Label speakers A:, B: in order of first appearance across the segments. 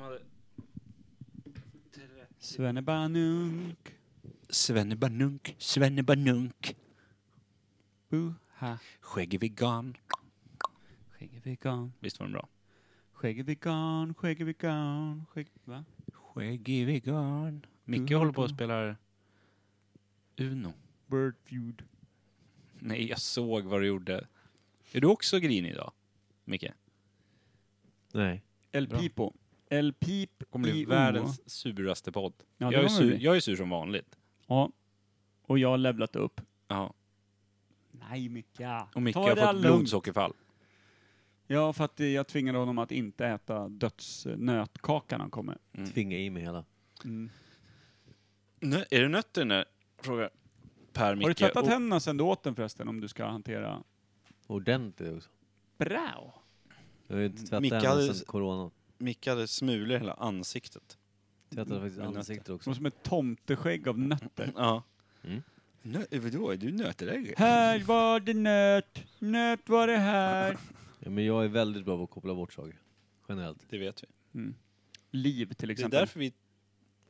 A: hade...
B: Svenne Banunk.
C: Svenne Banunk, Svenne Banunk.
B: Buha.
C: Skäggig vegan.
B: Skägg vegan.
C: Visst var den bra?
B: Skägg vegan. Skägg vegan. Skägg... Va?
C: Skäggig vegan. Micke håller på och spelar Uno.
B: Bird feud.
C: Nej, jag såg vad du gjorde. Är du också grinig idag, Micke?
D: Nej.
B: El
C: Bra.
B: Pipo. El Pip
C: kommer bli
B: i O.
C: världens suraste podd.
B: Ja, det
C: jag, är
B: kommer det
C: sur,
B: bli.
C: jag är sur som vanligt.
B: Ja. Och jag har levlat upp.
C: Ja.
B: Nej, Micke.
C: Och Micke
B: Ta
C: har
B: det
C: fått
B: lugnt.
C: blodsockerfall.
B: Ja, för att eh, jag tvingade honom att inte äta dödsnötkakan han kommer.
C: Mm.
D: Tvinga i mig hela.
B: Mm.
C: Nö, är det nötter nu? Frågar Per Micke.
B: Har du tvättat
C: Och-
B: händerna sen du åt den förresten, om du ska hantera...
D: Ordentligt också.
B: Bra!
D: Jag har ju inte tvättat
C: Micke
D: henne
C: hade-
D: sen corona.
C: Micke hade smulor i hela ansiktet.
D: Tvättade faktiskt
C: Mm. Men
D: ansiktet
B: Som
D: också.
B: som ett tomteskägg av nötter.
C: Ja.
D: Mm.
C: Nö, vadå, är du nötallergiker?
B: Här var det nöt, nöt var det här.
D: Ja, men jag är väldigt bra på att koppla bort saker. Generellt.
C: Det vet vi.
B: Mm. Liv till
C: Det är
B: exempel.
C: därför vi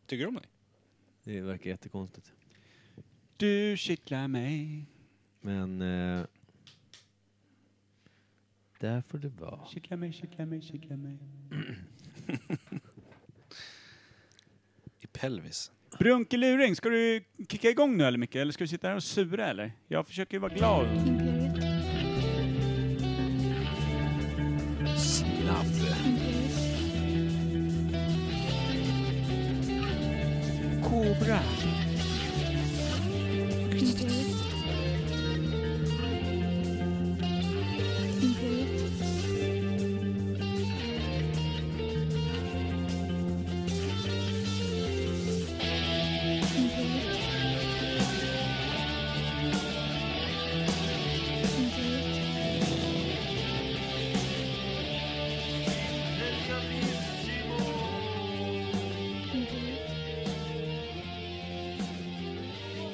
C: tycker om dig.
D: Det verkar jättekonstigt.
B: Du kittlar mig,
D: Men... Eh, där får det vara.
B: kittlar mig, kittlar mig, kittlar mig.
C: I pelvis.
B: Brunkeluring, ska du kicka igång nu eller Micke? Eller ska du sitta här och sura eller? Jag försöker ju vara glad.
E: Imperiet.
C: Snabb.
E: Imperiet.
B: Kobra.
E: Imperiet. Imperiet. Imperiet. Imperiet.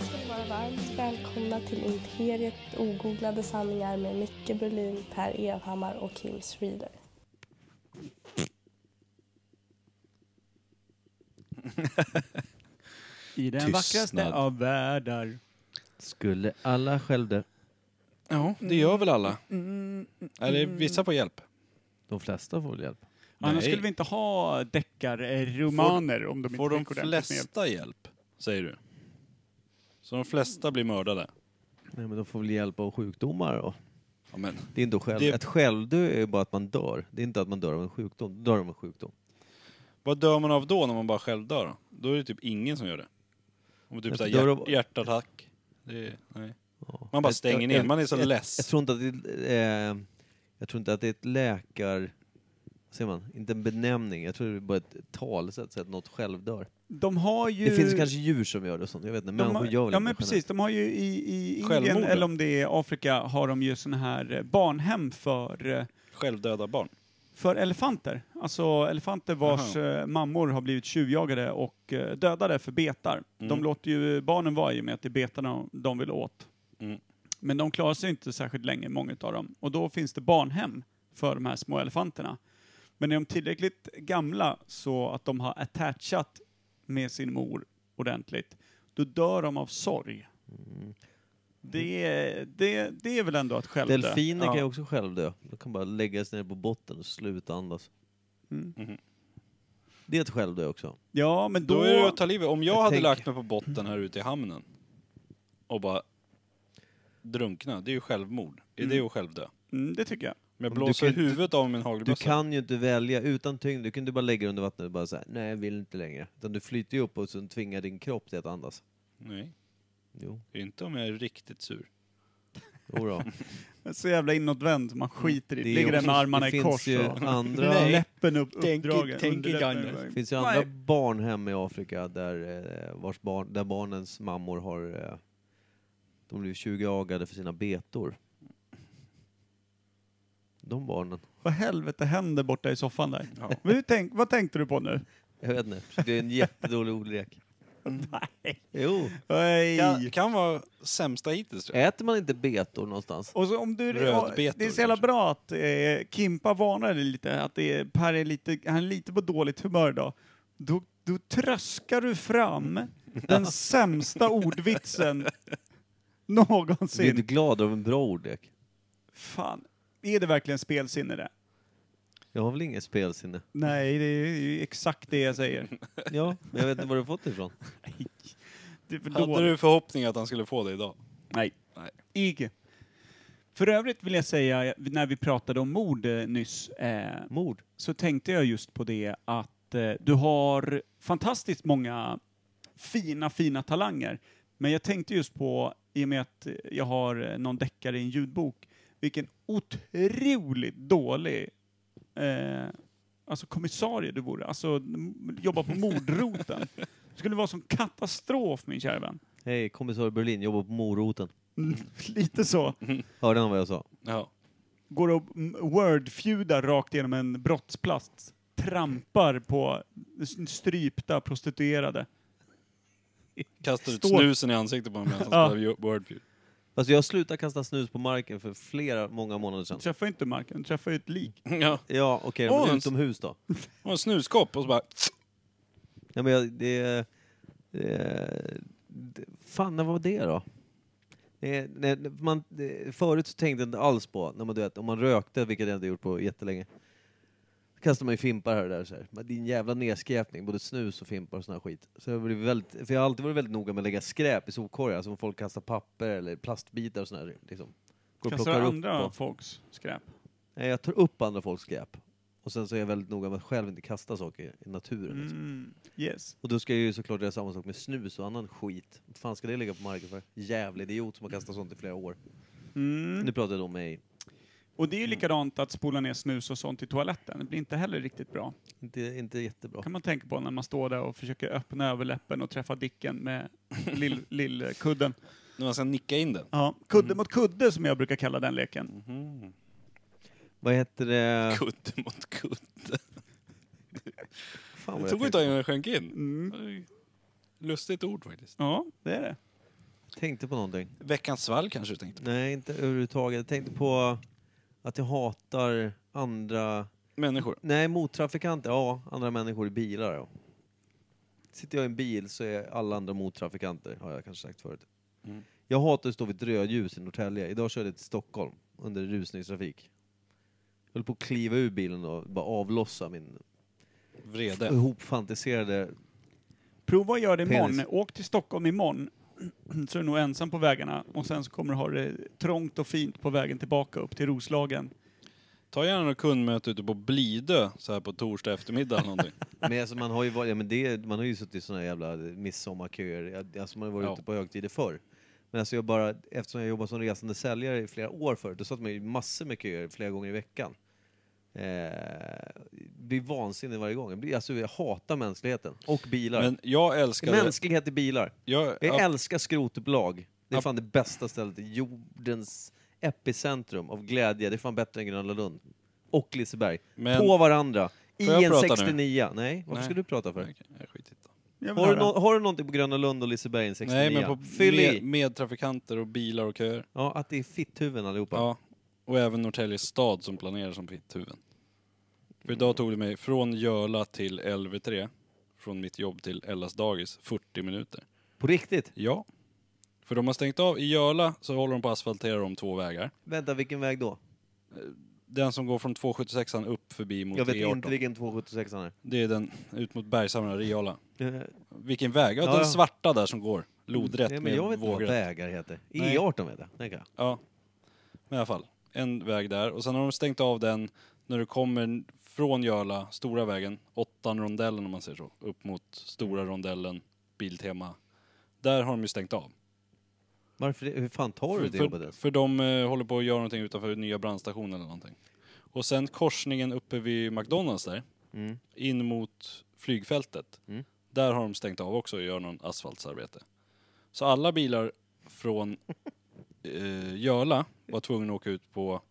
F: ska ni vara varmt välkomna till Imperiet ogooglade sanningar med Micke Berlin, Per Evhammar och Kim Schreeder.
B: I den
C: Tystnad.
B: vackraste av världar.
D: Skulle alla självdö?
C: Ja, det gör väl alla. Eller vissa får hjälp.
D: De flesta får väl hjälp?
B: Annars
C: Nej.
B: skulle vi inte ha deckarromaner om de
C: Får
B: inte
C: de
B: fick ordentligt med hjälp.
C: flesta hjälp, säger du? Så de flesta blir mördade?
D: Nej, men de får väl hjälp av sjukdomar och...
C: Ja, men
D: Det är inte själv...
C: Det-
D: Att självdö är ju bara att man dör. Det är inte att man dör av en sjukdom. Då dör av en sjukdom.
C: Vad dör man av då när man bara själv dör då? Då är det typ ingen som gör det. Om typ
D: Jag
C: så här
D: dör
C: hjärt,
D: av-
C: hjärtattack. Det är, nej.
D: Ja.
C: Man bara
D: Jag-
C: stänger
D: jag-
C: ner, man är så
D: jag, Jag, jag,
C: less.
D: tror inte att det, är, eh, jag tror inte att det är ett läkar... Vad säger man? Inte en benämning. Jag tror det är bara ett talesätt, så att något själv dör.
B: De har ju...
D: Det finns kanske djur som gör det och sånt. Jag vet inte.
B: De
D: Människor
B: har,
D: gör väl
B: ja
D: inte
B: men
D: det
B: precis, de har ju i, i Indien
C: Självmorden.
B: eller om det är Afrika har de ju såna här eh, barnhem för, eh,
C: Självdöda barn.
B: för elefanter. Alltså elefanter vars eh, mammor har blivit tjuvjagade och eh, dödade för betar. De
C: Mm.
B: låter ju barnen vara i och med att det är betarna de, de vill åt.
C: Mm.
B: Men de klarar sig inte särskilt länge, många av dem. Och då finns det barnhem för de här små elefanterna. Men är de tillräckligt gamla så att de har attachat med sin mor ordentligt, då dör de av sorg.
D: Mm.
B: Det, är- det, det är väl ändå att själv dö.
D: Delfiner kan
C: Ja.
D: ju också självdö. De kan bara lägga sig ner på botten och sluta andas.
B: Mm.
C: Mhm.
D: Det är ett självdö också.
B: Ja, men då...
C: Då, är det att ta livet. Om jag,
D: Jag
C: hade
D: tänker-
C: lagt mig på botten här ute i hamnen och bara drunkna, det är ju självmord. Är det att självdö?
B: mm, det tycker jag.
C: Om jag
D: Men du
C: blåser
D: kan ju inte-
C: huvudet av min
D: Du
C: hagelbössa.
D: kan ju inte välja utan tyngd. Du kan inte bara lägga dig under vattnet och bara säga nej, jag vill inte längre. Utan du flyter ju upp och sen tvingar din kropp till att andas.
C: Nej,
D: Jo,
C: inte om jag är riktigt sur.
D: jodå.
B: Jag är så jävla inåtvänd, man skiter i det.
D: Mm. Det är
B: Ligger där
D: också-
B: med armarna
D: det
B: i
D: finns
B: kors
D: ju
B: och
D: andra-
C: Nej.
B: läppen upp,
C: Tänk-
B: uppdragen.
C: tänk inte
B: underläppen.
C: annars.
D: Det finns ju
B: Nej.
D: andra barnhem i Afrika där, eh, vars barn, där barnens mammor har eh, de blir 20 agade för sina betor. De barnen.
B: Vad helvete händer borta i soffan där?
C: Ja.
B: Men hur tänk, vad tänkte du på nu?
D: Jag vet inte, det är en jättedålig ordlek.
B: Nej.
D: Jo.
C: Kan,
B: Oj.
C: kan vara sämsta hittills tror jag.
D: Äter man inte betor någonstans?
B: Och så om du...
C: Rödbetor
B: det är så jävla
C: kanske.
B: bra att eh, Kimpa varnar dig lite, att det är, Per är lite, han är lite på dåligt humör idag. Då, då tröskar du fram den sämsta ordvitsen
D: Blir du
B: någonsin.
D: glad av en bra ordlek?
B: Fan, är det verkligen spelsinne det?
D: Jag har väl inget spelsinne?
B: Nej, det är ju exakt det jag säger.
D: Ja, men jag vet inte var du fått det ifrån.
B: Det är för dåligt.
C: Hade du förhoppning att han skulle få det idag?
B: Nej.
C: Nej.
B: Icke. För övrigt vill jag säga, när vi pratade om mord eh, nyss, eh,
D: Mord.
B: så tänkte jag just på det att eh, du har fantastiskt många fina, fina talanger. Men jag tänkte just på, i och med att eh, jag har eh, någon deckare i en ljudbok, vilken otroligt dålig eh, alltså kommissarie du vore. Alltså m- jobba på mordroten. Det skulle vara som katastrof min kära vän.
D: Hej, kommissarie Berlin, jobbar på moroten.
B: Lite så.
D: Hörde han vad jag sa?
C: Ja.
B: går och m- wordfeudar rakt genom en brottsplats. Trampar på s- strypta prostituerade.
C: Kastar ut
B: Står-
C: snusen i ansiktet på honom medan
B: Ja.
C: han spelar Wordfeud.
D: Fast jag slutade kasta snus på marken för flera, många månader sedan.
B: Du träffar ju inte marken, du träffar ju ett lik.
C: Ja.
D: Ja, okej,
C: Åh,
D: men
C: en-
D: utomhus då?
C: Och en snuskopp och så bara...
D: Ja, men jag, det, det, det... Fan, när var det då? Det, det, man, det, förut så tänkte jag inte alls på, när man, du vet, om man rökte, vilket jag inte gjort på jättelänge, så kastar man ju fimpar här och där. Så här. Men det är en jävla nedskräpning, både snus och fimpar och sån här skit. Så jag, blev väldigt, för jag har alltid varit väldigt noga med att lägga skräp i sopkorgar, alltså om folk kastar papper eller plastbitar och sån här. Liksom. Går och
B: Kastar
D: plockar upp
B: andra
D: dem.
B: folks skräp.
D: Nej, jag tar upp andra folks skräp. Och sen så är jag väldigt noga med att själv inte kasta saker i naturen. Liksom.
B: Mm. Yes.
D: Och då ska jag ju såklart göra samma sak med snus och annan skit. Vad fan ska det ligga på marken för? Jävlig idiot som har kastat sånt i flera år. Nu Mm.
B: Mm.
D: pratar jag då om mig.
B: Och det är ju likadant att spola ner snus och sånt i toaletten. Det blir inte heller riktigt bra.
D: Inte, inte jättebra.
B: kan man tänka på när man står där och försöker öppna överläppen och träffa dicken med lill- lillkudden.
C: När man ska nicka in den.
B: ja, kudde
D: Mm.
B: mot kudde som jag brukar kalla den leken.
D: Vad heter det?
C: Kudde mot kudde.
D: Fan
C: Det
D: vad
C: tog
D: jag
C: ett tag
D: tänkte,
C: innan jag sjönk in.
B: Mm.
C: Lustigt ord faktiskt.
B: Ja, det är det.
D: tänkte på någonting.
C: Veckans svalg kanske du tänkte på.
D: Nej, inte överhuvudtaget. Jag tänkte på att jag hatar andra...
C: Människor.
D: Nej, mottrafikanter. Ja, andra människor i bilar. Ja. Sitter jag i en bil så är alla andra mottrafikanter, har jag kanske sagt förut.
C: Mm.
D: Jag hatar att stå vid ett rödljus i Norrtälje. Idag körde jag till Stockholm under rusningstrafik. Jag höll på att kliva ur bilen och bara avlossa min Mm.
C: Vrede.
D: ihopfantiserade...
B: Prova att göra det
D: Penis.
B: imorgon. Åk till Stockholm imorgon. Så är du nog ensam på vägarna och sen så kommer du ha det trångt och fint på vägen tillbaka upp till Roslagen.
C: Ta gärna något kundmöte ute på Blidö så här på torsdag eftermiddag eller någonting.
D: Men alltså man har ju varit, ja, men det, man har ju suttit i såna jävla midsommarköer. Jag- Alltså man har varit
C: Ja.
D: ute på högtider förr. Men alltså jag bara, eftersom jag jobbat som resande säljare i flera år förut, då satt man ju massor med köer flera gånger i veckan. Eh, blir vansinnig varje gång. Jag, blir, alltså jag hatar mänskligheten. Och bilar.
C: Men jag älskar det.
D: Mänsklighet i bilar.
C: Jag,
D: Jag
C: ja,
D: älskar skrotbolag. Det är
C: Ja.
D: fan det bästa stället. i Jordens epicentrum av glädje. Det är fan bättre än Gröna Lund. Och Liseberg.
C: Men-
D: På varandra. I
C: jag
D: en
C: prata nu?
D: 69. Nej, varför
C: Nej.
D: ska du prata för?
C: Okej, jag skiter i det.
B: Jag vill
D: Har, du
B: höra.
D: nå- har du någonting på Gröna Lund och Liseberg i en 69?
C: Nej, men på
D: Fyll
C: med,
D: i!
C: medtrafikanter och bilar och köer.
D: Ja, att det är fitthuvuden allihopa.
C: Ja. Och även Norrtälje stad som planerar som fitthuvuden. För idag tog det mig från Göla till LV3, från mitt jobb till Ellas dagis, 40 minuter.
D: På riktigt?
C: Ja. För de har stängt av, i Göla så håller de på att asfaltera om två vägar.
D: Vänta, vilken väg då?
C: Den som går från 276 upp förbi mot
D: jag vet
C: E18.
D: inte vilken 276 är.
C: Det är den ut mot Bergshamra, i Göla.
D: Eh,
C: Vilken väg? Ja,
D: Ja,
C: den
D: ja.
C: svarta där som går. Lodrätt
D: Nej, men
C: med
D: jag vet inte vad
C: vågrätt.
D: vägar heter.
C: Nej.
D: E18 vet jag. Nej, kan jag.
C: Ja, men i alla fall. En väg där. Och sen har de stängt av den när du kommer från Göla, stora vägen, åttan rondellen om man säger så, upp mot stora
D: Mm.
C: rondellen, Biltema. Där har de ju stängt av.
D: Varför det? Hur fan tar du det
C: för,
D: jobbet
C: för,
D: ens?
C: för de eh, håller på att göra någonting utanför nya brandstationen eller någonting. Och sen korsningen uppe vid McDonalds där,
D: Mm.
C: in mot flygfältet.
D: Mm.
C: Där har de stängt av också och gör någon asfaltsarbete. Så alla bilar från eh, Göla var tvungna att åka ut på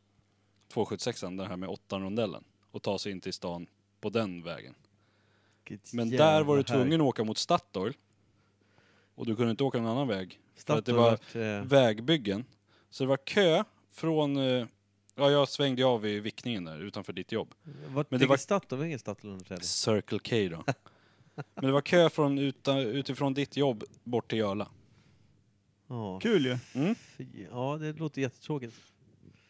C: 276 den här med 8 rondellen och ta sig in till stan på den vägen.
D: Vilket
C: Men
D: jävla
C: där var du
D: härligt.
C: tvungen att åka mot Statoil och du kunde inte åka någon annan väg. För att det
D: Statoil
C: var-
D: vart, eh,
C: Vägbyggen. Så det var kö från... eh, Ja, jag svängde av i Vickningen där utanför ditt jobb.
D: vart
C: men det
D: ligger
C: var-
D: Statoil? Det är ingen Statoil under trädet.
C: Circle K då. Men det var kö från utan, utifrån ditt jobb bort till Göla.
D: Ja,
B: Kul ju.
D: fy- ja, det låter jättetråkigt.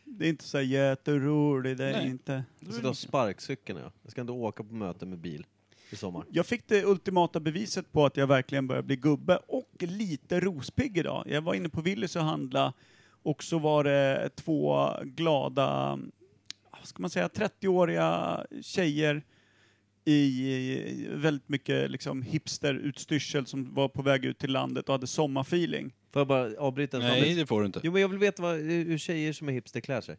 B: Det är inte så här jätteroligt, det är
C: Nej.
B: inte.
D: Jag ska ta sparkcykeln ja. Jag ska inte åka på möte med bil i sommar.
B: Jag fick det ultimata beviset på att jag verkligen börjar bli gubbe och lite rospigg idag. Jag var inne på Willys och handla och så var det två glada, vad ska man säga, 30-åriga tjejer i väldigt mycket liksom hipsterutstyrsel som var på väg ut till landet och hade sommarfeeling.
D: Får jag bara avbryta en
C: Nej,
D: snabbis?
C: det får du inte.
D: Jo men jag vill veta vad, hur tjejer som är hipster klär sig.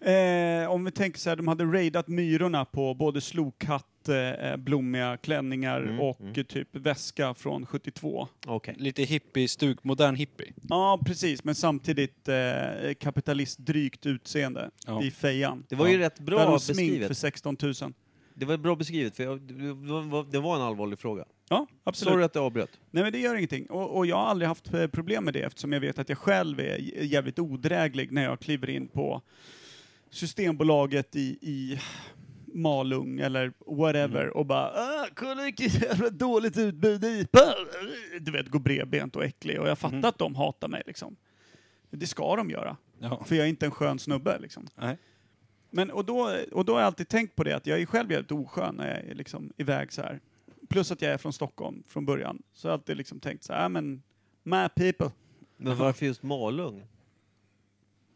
B: Eh, om vi tänker så här, de hade raidat Myrorna på både slokhatt, eh, blommiga klänningar
D: Mm,
B: och
D: mm.
B: eh, typ väska från 72.
D: Okej.
C: Lite hippie-stuk, modern hippie.
B: Ja, precis, men samtidigt eh, kapitalistdrygt utseende
C: Ja.
B: i fejan.
D: Det var ju
B: Ja.
D: rätt
B: Där
D: bra
B: har smink för
D: beskrivet.
B: 16 000.
D: Det var bra beskrivet för jag, det var- det var en allvarlig fråga.
B: Ja, absolut.
D: Sorry att jag avbröt.
B: Nej men det gör ingenting. Och, och jag har aldrig haft eh, problem med det eftersom jag vet att jag själv är j- jävligt odräglig när jag kliver in på Systembolaget i, i Malung eller whatever
C: Mm.
B: och bara "Ah, kolla vilket jävla dåligt utbud i IPA." Du vet, går bredbent och äcklig och jag fattar
C: Mm.
B: att de hatar mig liksom. Det ska de göra,
C: Ja.
B: för jag är inte en skön snubbe liksom.
C: Nej.
B: Men, och, då, och då har jag alltid tänkt på det att jag är själv jävligt oskön när jag är liksom iväg så här. Plus att jag är från Stockholm från början. Så jag har alltid liksom tänkt så här, "Ah, men my people.
D: Men varför just Malung?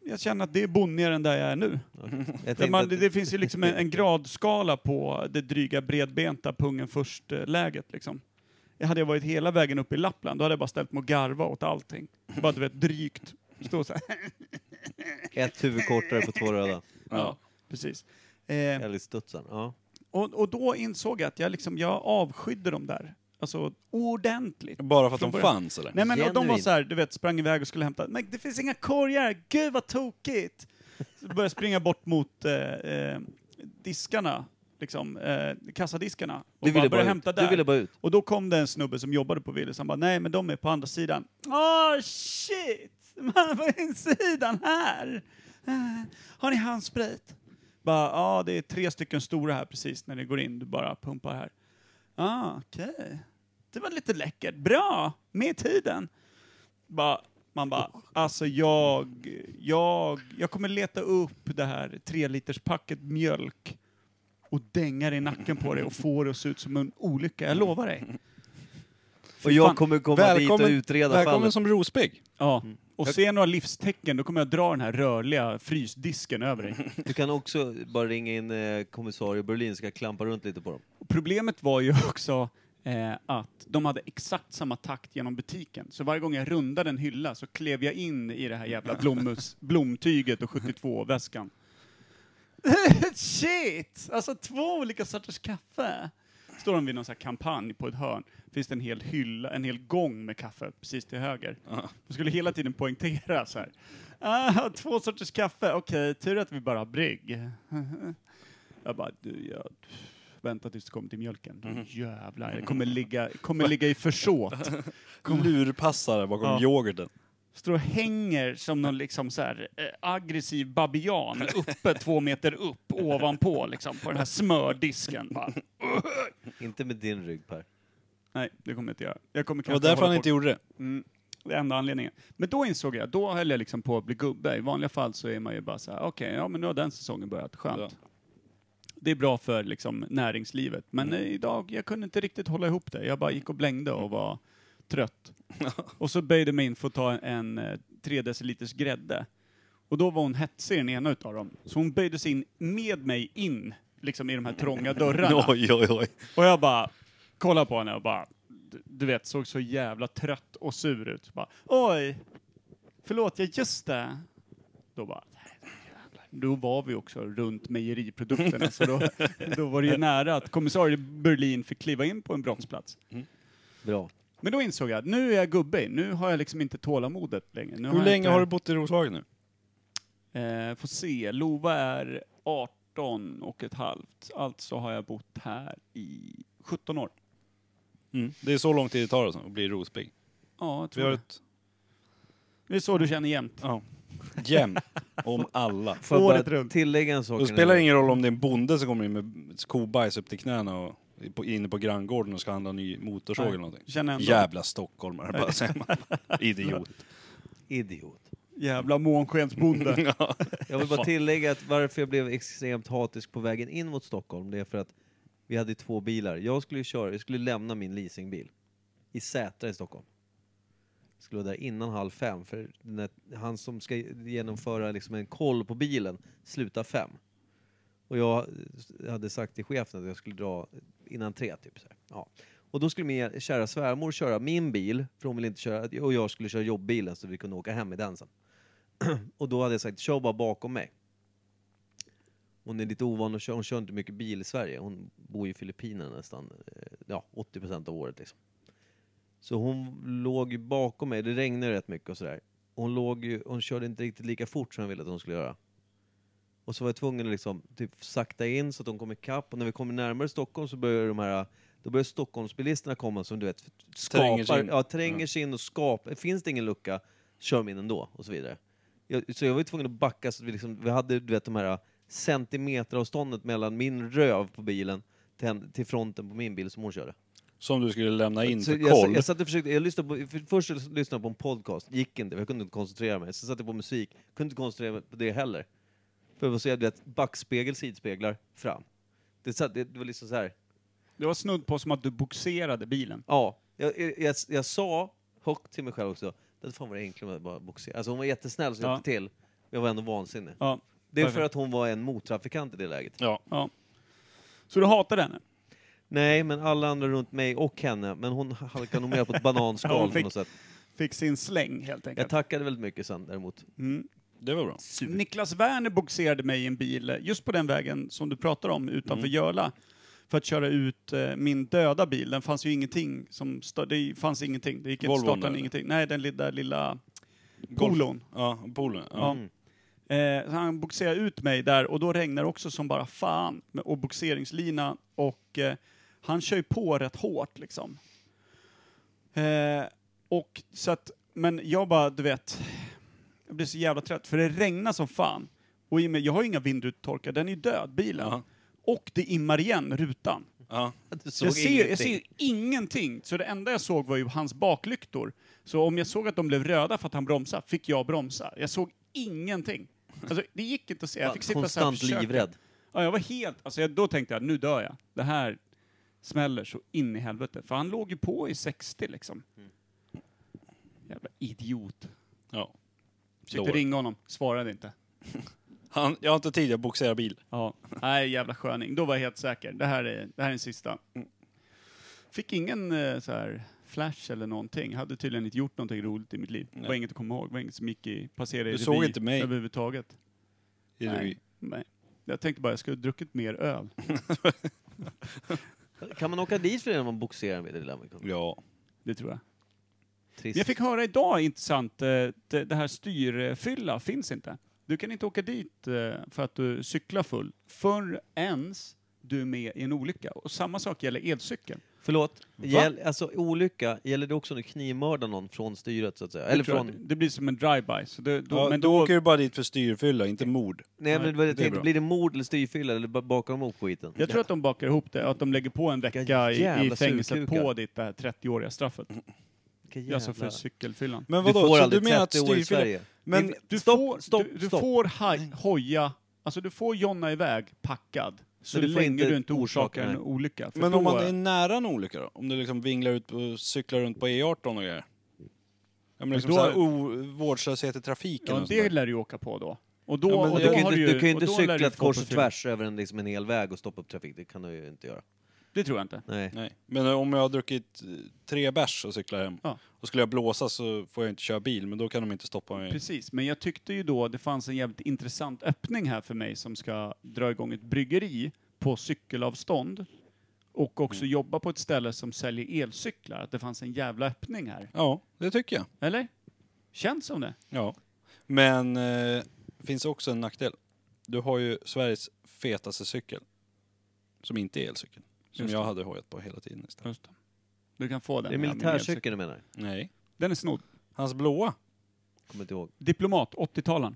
B: Jag känner att det är bonnigare än där jag är nu.
D: Jag
B: För
D: tänkte
B: Man,
D: att,
B: det, det finns ju liksom en, en gradskala på det dryga bredbenta pungen först-läget liksom. Jag hade jag varit hela vägen upp i Lappland, då hade jag bara ställt mig och garva åt allting. Bara du vet, drygt. Stå så här.
D: ett huvud kortare på två röda.
C: Ja.
B: Precis. Eh,
D: Eller studsaren. Ja.
B: och, och då insåg jag att jag, liksom, jag avskydde dem där. Alltså ordentligt.
C: Bara för att
B: Från
C: de
B: början.
C: fanns eller?
B: Nej men och de var
D: Genuin.
B: så här, du vet, sprang iväg och skulle hämta, men det finns inga korgar, gud vad tokigt! Så började jag springa bort mot eh, eh, diskarna, liksom, eh, kassadiskarna. Och bara
D: Du,
B: började
D: ville bara
B: hämta
D: ut.
B: där.
D: du ville bara ut.
B: Och då kom det en snubbe som jobbade på Willys, han bara, nej men de är på andra sidan. Åh shit! Man på insidan här! Eh, Har ni handsprit? Bara, ja det är tre stycken stora här precis när ni går in, du bara pumpar här. Ah, okej. Det var lite läckert. Bra! Med i tiden. Bara, man bara, alltså jag, jag, jag kommer leta upp det här tre liters packet mjölk och dänga det i nacken på dig och få det att se ut som en olycka, jag lovar dig.
D: Och
B: jag
D: jag
B: fan.
D: kommer komma dit och utreda
C: välkommen
D: fallet.
C: som rospigg.
B: Ja. Mm. Och ser jag några livstecken, då kommer jag dra den här rörliga frysdisken över dig.
D: Du kan också bara ringa in eh, kommissarie Berlin så kan jag klampa runt lite på dem.
B: Och Problemet var ju också eh, att de hade exakt samma takt genom butiken. Så varje gång jag rundade en hylla så klev jag in i det här jävla blommus, blomtyget och 72-väskan. Shit! Alltså två olika sorters kaffe! Står de vid någon sån här kampanj på ett hörn, finns det en hel hylla, en hel gång med kaffe precis till höger. De skulle hela tiden poängtera så här. Ah, två sorters kaffe, okej, tur att vi bara har brygg. Jag bara, du, jag väntar tills det kommer till mjölken. Jävlar, jag kommer ligga, kommer ligga i försåt.
C: Lurpassare bakom
B: Ja.
C: yoghurten.
B: Står och hänger som någon liksom så här, eh, aggressiv babian uppe två meter upp ovanpå liksom, på den här smördisken. Bara,
D: Inte med din rygg Per.
B: nej, det kommer jag inte göra. Jag kommer
C: Det var
B: kanske
C: därför
B: hålla
C: han
B: på-
C: inte gjorde det.
B: Mm. Det är enda anledningen. Men då insåg jag, då höll jag liksom på att bli gubbe. I vanliga fall så är man ju bara så här, okej, ja men nu har den säsongen börjat, skönt.
C: Ja.
B: Det är bra för liksom näringslivet. Men eh, idag, jag kunde inte riktigt hålla ihop det. Jag bara gick och blängde och var trött. och så böjde mig in för att ta en eh, 3 deciliters grädde. Och då var hon hetsig den ena utav dem. Så hon böjde sig in med mig in, liksom i de här trånga dörrarna.
C: Oj, oj, oj.
B: Och jag bara kollade på henne och bara, du- du vet, såg så jävla trött och sur ut. Bara, Oj, förlåt, jag just det. Då bara, jävlar. då var vi också runt mejeriprodukterna, så då, då var det ju nära att kommissarie Berlin fick kliva in på en brottsplats.
D: Bra.
B: Men då insåg jag, nu är jag gubbe, nu har jag liksom inte tålamodet längre. Nu
C: Hur
B: jag
C: länge
B: inte-
C: har du bott i Roslagen nu?
B: Eh, får se, Lova är 18 och ett halvt, alltså har jag bott här i 17 år. Mm.
C: Mm. Det är så lång tid det tar alltså, att bli rospigg.
B: Ja, jag
C: Vi
B: tror
C: har
B: det.
C: ett...
B: Det är så du känner jämt.
C: Ja. Jämt. Om alla.
D: Får jag
B: Året
D: bara
B: runt.
D: tillägga en sak?
C: Då
D: innan
C: spelar det
D: jag-
C: ingen roll om det är en bonde som kommer in med kobajs upp till knäna och är på- inne på granngården och ska handla en ny motorsåg
B: Nej.
C: eller någonting.
B: Känner ändå.
C: Jävla stockholmare bara säger man. Idiot.
D: Idiot.
B: Jävla månskensbonde.
C: Ja.
D: Jag vill bara tillägga att varför jag blev extremt hatisk på vägen in mot Stockholm, det är för att vi hade två bilar. Jag skulle ju köra, jag skulle lämna min leasingbil i Sätra i Stockholm. Jag skulle vara där innan halv fem, för när han som ska genomföra liksom en koll på bilen slutar fem. Och jag hade sagt till chefen att jag skulle dra innan tre, typ så här. Ja. Och då skulle min kära svärmor köra min bil, för hon ville inte köra, och jag skulle köra jobbbilen så vi kunde åka hem i den sen. Och då hade jag sagt, kör bara bakom mig. Hon är lite ovan att köra, hon kör inte mycket bil i Sverige. Hon bor ju i Filippinerna nästan, eh, ja 80% av året liksom. Så hon låg ju bakom mig, det regnade rätt mycket och sådär. Hon låg ju, hon körde inte riktigt lika fort som jag ville att hon skulle göra. Och så var jag tvungen att liksom typ sakta in så att de kom ikapp och när vi kommer närmare Stockholm så börjar de här, då börjar Stockholmsbilisterna komma som du vet skapar,
C: Tränger sig
D: tränger
C: in.
D: ja tränger sig in och skapar, finns det ingen lucka, kör de in ändå och så vidare. Jag, så jag var ju tvungen att backa så att vi, liksom, vi hade du vet, de här centimeteravståndet mellan min röv på bilen till, hen- till fronten på min bil som hon körde.
C: Som du skulle lämna in
D: Så
C: för
D: jag,
C: koll.
D: jag satt och försökte, jag lyssnade på, för, först jag lyssnade på en podcast, gick inte, jag kunde inte koncentrera mig. Sen satte jag på musik, kunde inte koncentrera mig på det heller. För jag var så jävla, du vet, backspegel, sidspeglar, fram. Det, satt, det, det var liksom så här.
B: Det var snudd på som att du boxerade bilen.
D: Ja, jag, jag, jag, jag sa högt till mig själv också, det fan var det enklare med att bara boxera. Alltså hon var jättesnäll så jag
B: Ja.
D: hjälpte till, men jag var ändå vansinnig.
B: Ja.
D: Det är för
B: Perfekt.
D: att hon var en mottrafikant i det läget.
C: Ja.
B: ja. Så du hatade henne?
D: Nej, men alla andra runt mig och henne, men hon halkade nog mer på ett bananskal
B: Ja, hon
D: på
B: fick-
D: något sätt.
B: Fick sin släng helt
D: Jag
B: enkelt.
D: tackade väldigt mycket sen däremot.
B: Mm.
C: Det var bra.
B: Niklas Werner boxerade mig i en bil eh, just på den vägen som du pratar om utanför Göla för att köra ut eh, min döda bil. Den fanns ju ingenting som stö- det fanns ingenting. Det gick inte att
C: Volvon
B: starta den,
C: eller?
B: ingenting. Nej, den lilla, lilla
C: Golf.
B: polon.
C: Ja, Polen. Ja.
D: Mm.
B: Ja. Eh, så han boxerade ut mig där och då regnar det också som bara fan med- och boxeringslina och eh, han kör ju på rätt hårt liksom. Eh, och så att, men jag bara, du vet, jag blir så jävla trött för det regnar som fan. Och i och med, jag har ju inga vindrutetorkar, den är ju död, bilen.
C: Ja.
B: Och det immar igen, rutan.
C: Ja.
D: Du såg
B: Jag ser, jag
D: ingenting.
B: ser ju ingenting, så det enda jag såg var ju hans baklyktor. Så om jag såg att de blev röda för att han bromsade, fick jag bromsa. Jag såg ingenting. Alltså, det gick inte att se. Jag fick sitta så här och
D: Konstant
B: försöka.
D: livrädd.
B: Ja, jag var helt... Alltså, jag, då tänkte jag, nu dör jag. Det här smäller så in i helvete. För han låg ju på i 60 liksom.
D: Mm.
B: Jävla idiot.
C: ja.
B: Försökte
C: Då.
B: ringa honom, svarade inte.
C: Han, jag har inte tid, jag boxerar bil.
B: Ja. Nej, jävla sköning. Då var jag helt säker. Det här är, det här är den sista. Fick ingen eh, så här flash eller någonting. Hade tydligen inte gjort någonting roligt i mitt liv. Det var
C: Nej.
B: inget att komma ihåg. Det var inget som gick i, passerade i
C: Du såg
B: revy
C: inte mig.
B: överhuvudtaget.
C: I
B: Nej.
C: revy.
B: Nej. Jag tänkte bara jag skulle ha druckit mer öl.
D: Kan man åka dit för det när man boxerar med det lilla? Amerikan?
C: Ja.
B: Det tror jag.
D: Trist.
B: Men jag fick höra idag, intressant, eh, det, det här styrfylla finns inte. Du kan inte åka dit eh, för att du cyklar full förrän du är med i en olycka. Och samma sak gäller elcykeln.
D: Förlåt, gäll, alltså olycka, gäller det också när du knivmördar någon från styret så att säga? Eller
B: tror jag.
D: från...
B: Det blir som en drive-by. Så det, då,
C: ja
B: men
C: då,
B: då,
C: åker du bara dit för styrfylla,
D: Mm.
C: inte mord.
D: Nej men det var det
C: det
D: jag
C: är
D: tänkte,
C: bra.
D: blir det mord eller styrfylla eller ba- bakar de ihop skiten?
B: jag tror att de bakar ihop det, att de lägger på en vecka
D: Vilka
B: i, i
D: jävla
B: fängelset
D: sugkukar.
B: på ditt det här 30-åriga straffet.
D: Vilka
B: Alltså för
D: jävlar.
B: cykelfyllan.
C: Men
D: Du
C: vadå,
D: får
C: så du
D: aldrig
C: menar att
D: 30 år i
C: styrfylla...
D: Sverige.
C: Men
B: du
D: stopp,
B: får,
D: stopp,
B: du, du
D: stopp.
B: får haj, hoja, alltså du får jonna iväg packad. Så
D: Men du får
B: länge
D: inte
B: du inte
D: orsaka
B: orsakar en
D: den.
B: olycka. För
C: Men
B: då,
C: om man är nära en olycka då? Om du liksom vinglar ut och cyklar runt på E18 och grejer? Ja men liksom
B: då-
C: såhär o- vårdslöshet i trafiken
B: ja,
C: och
B: det
C: sånt där.
B: lär du ju åka på då. Och då,
C: Ja, men
B: och
D: Och
B: då
D: du, kan ju
B: har
D: inte,
B: ju,
D: du kan ju inte
B: och då lär
D: cykla
B: du
D: ett
B: få
D: kors och
B: på film.
D: tvärs över en, liksom en hel väg och stoppa upp trafik, det kan du ju inte göra.
B: Det tror jag inte.
D: Nej.
C: Nej. Men om jag har druckit eh, tre bärs och cyklar hem,
B: Ja.
C: och skulle jag blåsa så får jag inte köra bil, men då kan de inte stoppa mig.
B: Precis, men jag tyckte ju då det fanns en jävligt intressant öppning här för mig som ska dra igång ett bryggeri på cykelavstånd och också jobba på ett ställe som säljer elcyklar. Att det fanns en jävla öppning här.
C: Ja, det tycker jag.
B: Eller? Känns som det.
C: Ja. Men eh, finns också en nackdel. Du har ju Sveriges fetaste cykel, som inte är elcykel. Som
B: Just
C: jag
B: det.
C: hade hojat på hela tiden istället.
B: Du kan få den.
D: Det är
B: här med
D: militärcykeln du menar?
C: Nej.
B: Den är snodd.
C: Hans blåa.
D: Kommer inte ihåg.
B: Diplomat, 80-talaren.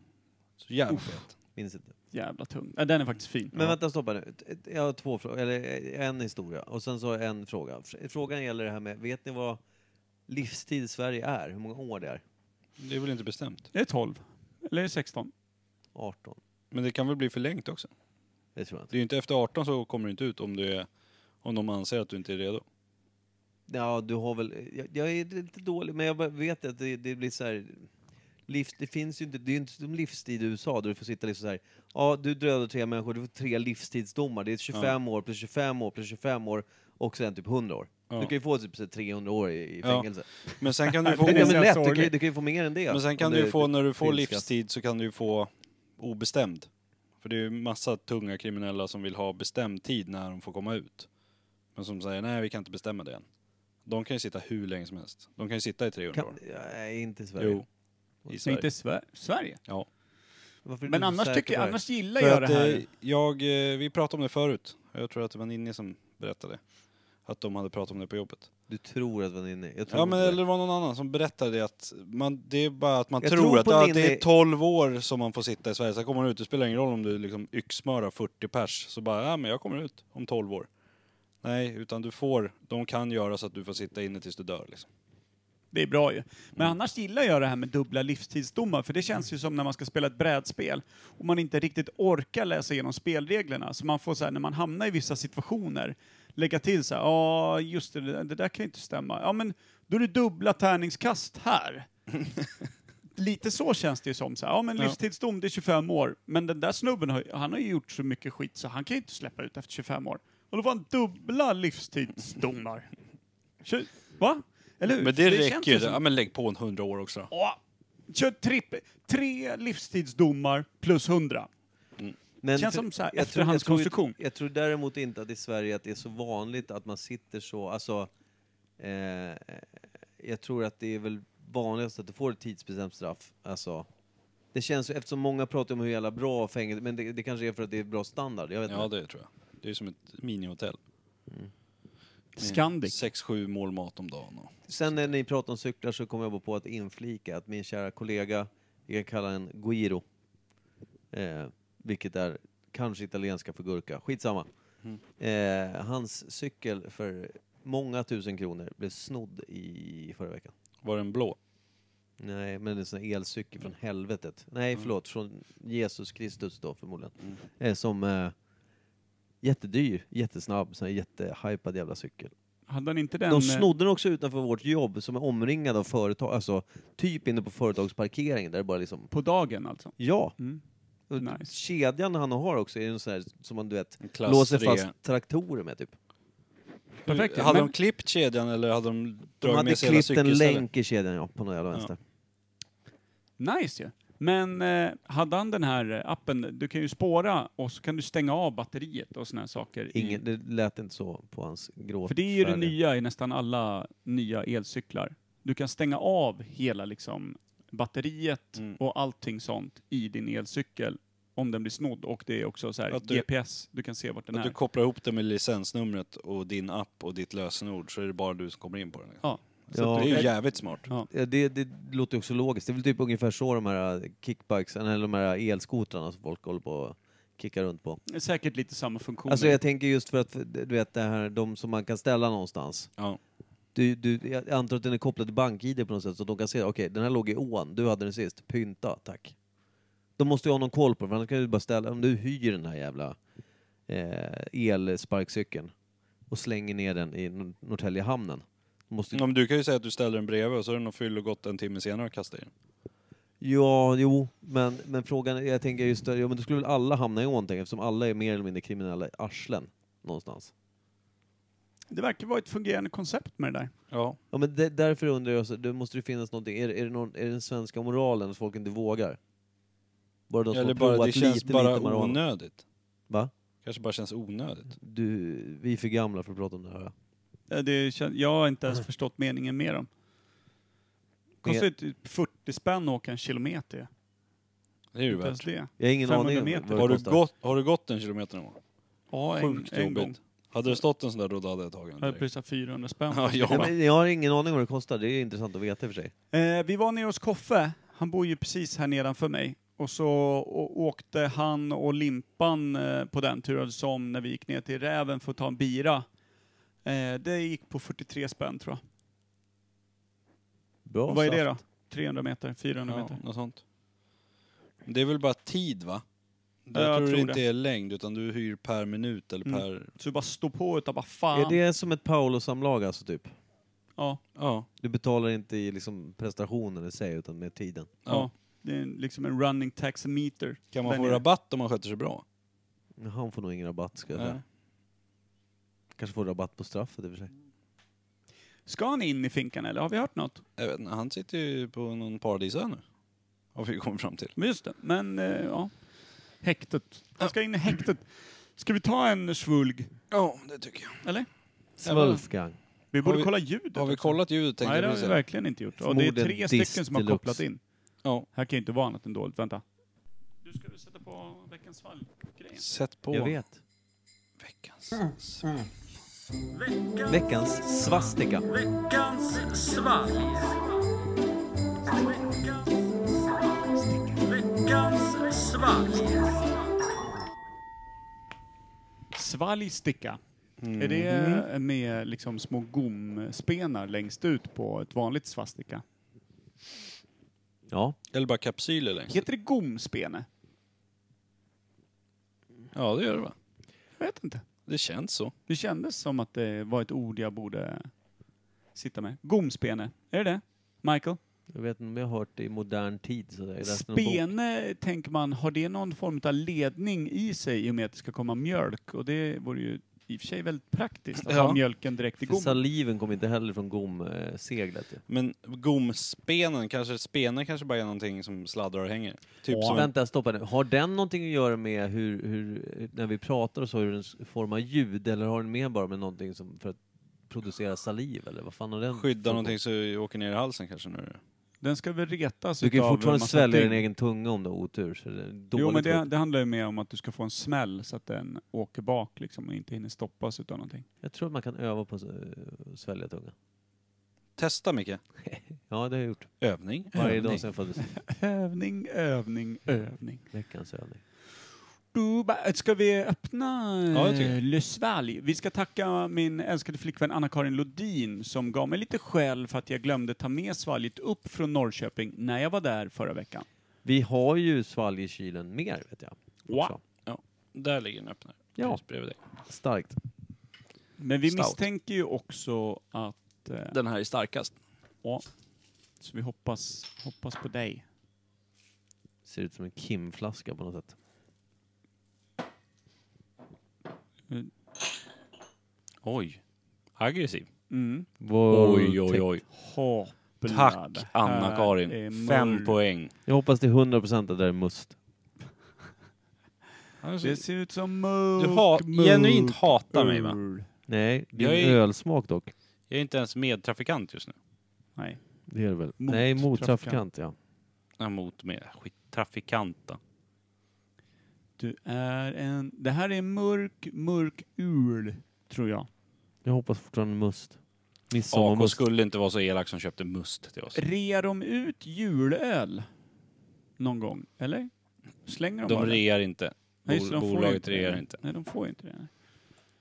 C: Så jävla fet.
D: Minns inte.
B: Jävla tung. Ja, den är faktiskt fin.
D: Men vänta, stoppa nu. Ett- ett- Jag har två frågor, eller eh, en historia och sen så har jag en fråga. Fr- Frågan gäller det här med, vet ni vad livstid i Sverige är? Hur många år det är?
C: Det är väl inte bestämt.
B: Det är 12. Eller är det 16?
D: 18?
C: Men det kan väl bli förlängt också?
D: Det tror jag inte.
C: Det är ju inte efter 18 så kommer du inte ut om du är, om de anser att du inte är redo.
D: Ja, du har väl... Jag, jag är lite dålig, men jag bara vet att det, det blir så här... Livs, det finns ju inte, det är ju inte som livstid i USA där du får sitta liksom så här. Ja, du dödar tre människor, du får tre livstidsdomar. Det är 25 år plus 25 år plus 25 år och sen typ 100 år.
C: Ja.
D: Du kan ju få typ så här 300 år i, i
C: Ja.
D: fängelse.
C: Men sen kan du
D: Det
C: få,
D: är men
B: ganska
D: lätt, du, kan, ju-
B: sorgligt.
D: du kan ju få mer än det.
C: men sen
D: om
C: kan du ju
D: det-
C: få, när du får
D: finns skatt.
C: livstid så kan du ju få obestämd. För det är ju massa tunga kriminella som vill ha bestämd tid när de får komma ut. Men som säger, nej vi kan inte bestämma det än. De kan ju sitta hur länge som helst. De kan ju sitta i 300
D: Kan,
C: år.
D: nej, inte i Sverige.
C: Jo. I
B: Nej,
C: Sverige.
B: inte Sver- Sverige.
C: Ja.
D: Varför är du
B: Men
D: så
B: annars,
D: säker
B: tycker,
D: på det här?
B: annars gillar
C: För
B: jag det
C: att,
B: här.
C: eh, jag, eh, vi pratade om det förut. Jag tror att det var Ninni som berättade. Att de hade pratat om det på jobbet.
D: Du tror att man är inne. Jag tror
C: Ja men
D: inte det.
C: eller det var någon annan som berättade det att man, det är bara att man
D: Jag
C: tror,
D: tror
C: att
D: på
C: ja,
D: Ninni.
C: det är 12 år som man får sitta i Sverige. Sen kommer man ut, det spelar ingen roll om du liksom yxmörar 40 pers. Så bara, ja men jag kommer ut om 12 år. Nej, utan du får, de kan göra så att du får sitta inne tills du dör liksom.
B: Det är bra ju. Men
C: Mm.
B: annars gillar jag det här med dubbla livstidsdomar, för det känns ju som när man ska spela ett brädspel och man inte riktigt orkar läsa igenom spelreglerna. Så man får så här, när man hamnar i vissa situationer, lägga till så här, ja just det, det där- det där kan ju inte stämma. Ja men, då är det dubbla tärningskast här. Lite så känns det ju som. Så här, ja men
C: Ja.
B: livstidsdom, det är 25 år. Men den där snubben, har, ju- han har ju gjort så mycket skit så han kan ju inte släppa ut efter 25 år. Och då får han dubbla livstidsdomar. Tju- Va? Eller hur?
C: Mm. Men det,
B: känns
C: räcker ju.
B: som-
C: Ja men lägg på en 100 år också då.
B: Åh, kör tripp, tre livstidsdomar plus 100.
C: Mm.
D: Men
B: Känns
D: för-
B: som så här
D: jag tror-
B: efterhandskonstruktion.
D: Jag tror, jag tror däremot inte att i Sverige att det är så vanligt att man sitter så, alltså... Eh, jag tror att det är väl vanligast att du får ett tidsbestämt straff, alltså. Det känns ju, eftersom många pratar om hur jävla bra fängelse, men det, det kanske är för att det är bra standard, jag vet
C: Ja
D: inte.
C: det tror jag. Det är som ett minihotell.
B: Scandic.
C: 6-7 mål mat om dagen. Och.
D: Sen när ni pratar om cyklar så kommer jag bara på att inflika att min kära kollega, vi kan kalla den Guiro, eh, vilket är kanske italienska för gurka, skitsamma. Eh, hans cykel för många tusen kronor blev snodd i förra veckan.
C: Var den blå?
D: Nej, men en sån här elcykel från helvetet. Nej, förlåt, från Jesus Kristus då förmodligen. Eh, som eh, jättedyr, jättesnabb, sån här jättehypad jävla cykel.
B: Hade han inte den...
D: De
B: eh,
D: snodde den också utanför vårt jobb som är omringad av företag, alltså typ inne på företagsparkeringen där det bara liksom,
B: På dagen alltså.
D: ja.
B: Mm.
D: Och
B: Nice.
D: Kedjan han har också är en sån här som man du vet,
C: En klass
D: låser
C: tre.
D: fast traktorer med typ.
B: Perfekt.
C: Hade
B: Men-
C: de klippt kedjan eller hade de
D: De
C: dragit
D: hade
C: med sig hela
D: klippt en
C: cykelstället?
D: länk i kedjan ja, på någon jävla vänster.
B: Nice ju. Men eh, hade han den här eh, appen, du kan ju spåra och så kan du stänga av batteriet och såna här saker. i-
D: Ingen, det lät inte så på hans grå
B: För det är ju det
D: färger.
B: nya i nästan alla nya elcyklar. Du kan stänga av hela liksom, batteriet
C: Mm.
B: och allting sånt i din elcykel om den blir snodd. Och det är också så här
C: Att du-
B: GPS, du kan se vart den
C: Att
B: är.
C: du kopplar ihop det med licensnumret och din app och ditt lösenord så är det bara du som kommer in på den. liksom.
B: Ja.
C: Så
D: Ja.
C: det är ju jävligt smart.
B: Ja.
D: Ja, det, det låter ju också logiskt. Det är väl typ ungefär så de här kickbikesen, eller de här elskotrarna som folk håller på och kickar runt på.
B: Det är Säkert lite samma funktioner.
D: Alltså jag tänker just för att, du vet det här, de som man kan ställa någonstans.
C: Ja.
D: Du, du, jag antar att den är kopplad till bank-id på något sätt så de kan se, okej den här låg i ån, du hade den sist, pynta, tack. De måste ju ha någon koll på det, för annars kan du bara ställa, om du hyr den här jävla eh, elsparkcykeln och slänger ner den i Nor- Norrtälje hamnen. Då Måste,
C: Ja, men du kan ju säga att du ställer den bredvid och så är den och fyller gott en timme senare och kastar i den.
D: Ja, jo, men, men frågan, är- jag tänker just det, ja, men då skulle väl alla hamna i ån tänker jag, eftersom alla är mer eller mindre kriminella i arslen någonstans.
B: Det verkar vara ett fungerande koncept med det där.
C: Ja.
D: Ja, men det, därför undrar jag, så, det måste ju finnas någonting, är, det- är, det någon, är det den svenska moralen att folk inte vågar? Bara de som
C: Eller
D: har
C: bara,
D: provat
C: det känns
D: lite,
C: bara
D: lite marijuana.
C: onödigt.
D: Va?
C: Kanske bara känns onödigt.
D: Du, vi är för gamla för att prata om det här.
B: Eh, Det kän- jag har inte
D: Mm.
B: ens förstått meningen med dem. Kostar ju typ 40 spänn att åka en kilometer.
C: Det är ju
B: Inte ens
C: värt.
B: det.
D: Jag har ingen
B: 500
D: aning om
B: meter.
D: vad det
C: Har du,
D: kostar.
C: gått, har du gått en kilometer någon gång?
B: Ja, en,
C: Sjukt
B: en gång.
C: jobbigt. Hade det stått en sån där då, då hade jag tagit
B: Jag
C: den
B: hade
C: direkt.
B: pröjsat 400 spänn.
C: Ja,
D: Nej,
C: jag,
D: men jag har ingen aning vad det kostar, det är intressant att veta i och för sig.
B: Eh, vi var nere hos Koffe, han bor ju precis här nedanför mig. Och så å- åkte han och Limpan eh, på den turen som när vi gick ner till Räven för att ta en bira. Eh, det gick på 43 spänn tror jag.
D: Bra
B: Och vad är
D: saft.
B: det då? 300 meter, 400
C: ja,
B: meter.
C: något sånt. Det är väl bara tid va?
B: Ja,
C: Jag tror, det inte är längd utan du hyr per minut eller
B: Mm.
C: per...
B: Så du bara står på utan bara fan.
D: Är det som ett Paolo-samlag alltså, typ?
B: Ja,
C: Ja.
D: Du betalar inte i liksom prestationen i sig, utan med tiden.
B: ja. Det är liksom en running taximeter.
C: Kan man
B: Där
C: få
B: nere.
C: rabatt om man sköter sig bra?
D: Han får nog ingen rabatt, ska jag
C: Nej.
D: säga. Kanske får rabatt på straffet i och för sig.
B: Ska han in i finkan eller har vi hört något?
C: Jag vet inte, han sitter ju på någon paradisö nu. Har vi kommit fram till.
B: Men just det, men eh, ja. Häktet. Han ska in i häktet. Ska vi ta en svulg?
C: Ja, det tycker jag.
B: Eller?
D: Svulfgang.
B: Vi borde
C: vi-
B: kolla ljudet.
C: Har vi
B: också.
C: kollat ljudet tänkte
B: Nej, det har
C: jag
B: vi
C: precis säga.
B: verkligen inte gjort. Och det är tre
D: Förmodligen
B: stycken som har
D: diss
B: kopplat
D: deluxe.
B: in.
C: Ja.
B: Här kan ju inte vara annat än dåligt. Vänta. Du ska väl sätta på veckans fall-grejen?
C: Sätt på
D: Jag vet.
C: veckans...
D: Veckans svastika.
B: Svalgsticka. Är det
C: Mhm.
B: med liksom små gomspenar längst ut på ett vanligt svastika?
D: Ja.
C: Eller bara kapsyler längst.
B: Heter det gomspene?
C: Ja, det gör det va?
B: Jag vet inte.
C: Det känns så.
B: Det kändes som att det var ett ord jag borde sitta med. Gomspene. Är det det? Michael?
D: Jag vet inte om jag har hört det i modern tid. Så det är resten av boken.
B: Spene tänker man, har det någon form av ledning i sig i och med att det ska komma mjölk? Och det vore ju i och för sig väldigt praktiskt att ha
C: Ja.
B: mjölken direkt i
D: För
B: gommen.
D: Saliven kom inte heller från gomseglet. ju.
C: Men gomspenen, kanske spenen kanske bara är någonting som sladdrar och hänger. Typ
D: Ja.
C: som en,
D: Vänta, stoppa nu. Har den någonting att göra med hur, hur, när vi pratar och så, hur den s- formar ljud? Eller har den mer bara med någonting som för att producera saliv? Eller vad fan har den?
C: skydda någonting så det åker ner i halsen kanske nu.
B: Den ska väl retas
D: Du kan ju
B: utav en
D: fortfarande
B: massa
D: svälja
B: tyngd.
D: din egen tunga om du har otur. Så det är dåligt
B: Jo men det,
D: skött.
B: det handlar ju mer om att du ska få en smäll så att den åker bak liksom och inte hinner stoppas utav någonting.
D: Jag tror att man kan öva på att eh, svälja tunga.
C: Testa Micke.
D: Ja, det har jag gjort.
C: Övning.
D: Varje
C: Övning.
D: dag sedan föddes.
B: Övning, övning, övning.
D: Veckans övning.
B: Du, ba- Äh, Ska vi öppna
C: Ja, jag tycker
B: eh, Le Svalg? Vi ska tacka min älskade flickvän Anna-Karin Lodin som gav mig lite skäll för att jag glömde ta med svalget upp från Norrköping när jag var där förra veckan.
D: Vi har ju svalg i kylen mer, vet jag.
B: Wow.
D: Också.
C: Där ligger en öppnare.
D: Ja.
C: Precis bredvid dig.
D: Starkt.
B: Men vi
C: Stout.
B: misstänker ju också att... Eh,
C: Den här är starkast.
B: ja. Så vi hoppas, hoppas på dig.
D: Ser ut som en Kim-flaska på något sätt.
C: Oj. Aggressiv.
B: Mm.
C: Oj, oj, oj.
B: Hopplad.
C: Tack
B: Här är
C: Anna-Karin.
B: mörk.
C: Fem poäng.
D: Jag hoppas till 100% att det där är must.
B: Det ser ut som mörk,
C: Du ha-
B: mörk
C: genuint hatar mig, va?
B: ur.
D: Nej, din
C: Jag är-
D: ölsmak dock.
C: Jag är inte ens medtrafikant just nu.
B: Nej.
D: Det är det väl?
B: Mot
D: Nej, mot
B: trafikant.
D: trafikant, ja.
C: Nej, Mot med. Skit. Trafikant då.
B: Du är en... Det här är mörk, mörk ul, tror jag.
D: Jag hoppas fortfarande must.
C: AK
D: Midsommarmust.
C: skulle inte vara så elak som köpte must till oss.
B: Rear de ut julöl någon gång, eller? Slänger de,
C: De
B: bara det?
C: rear inte.
B: Nej, just det,
C: Bol-
B: de får
C: bolaget
B: det.
C: rear inte.
B: Nej, de får ju inte det.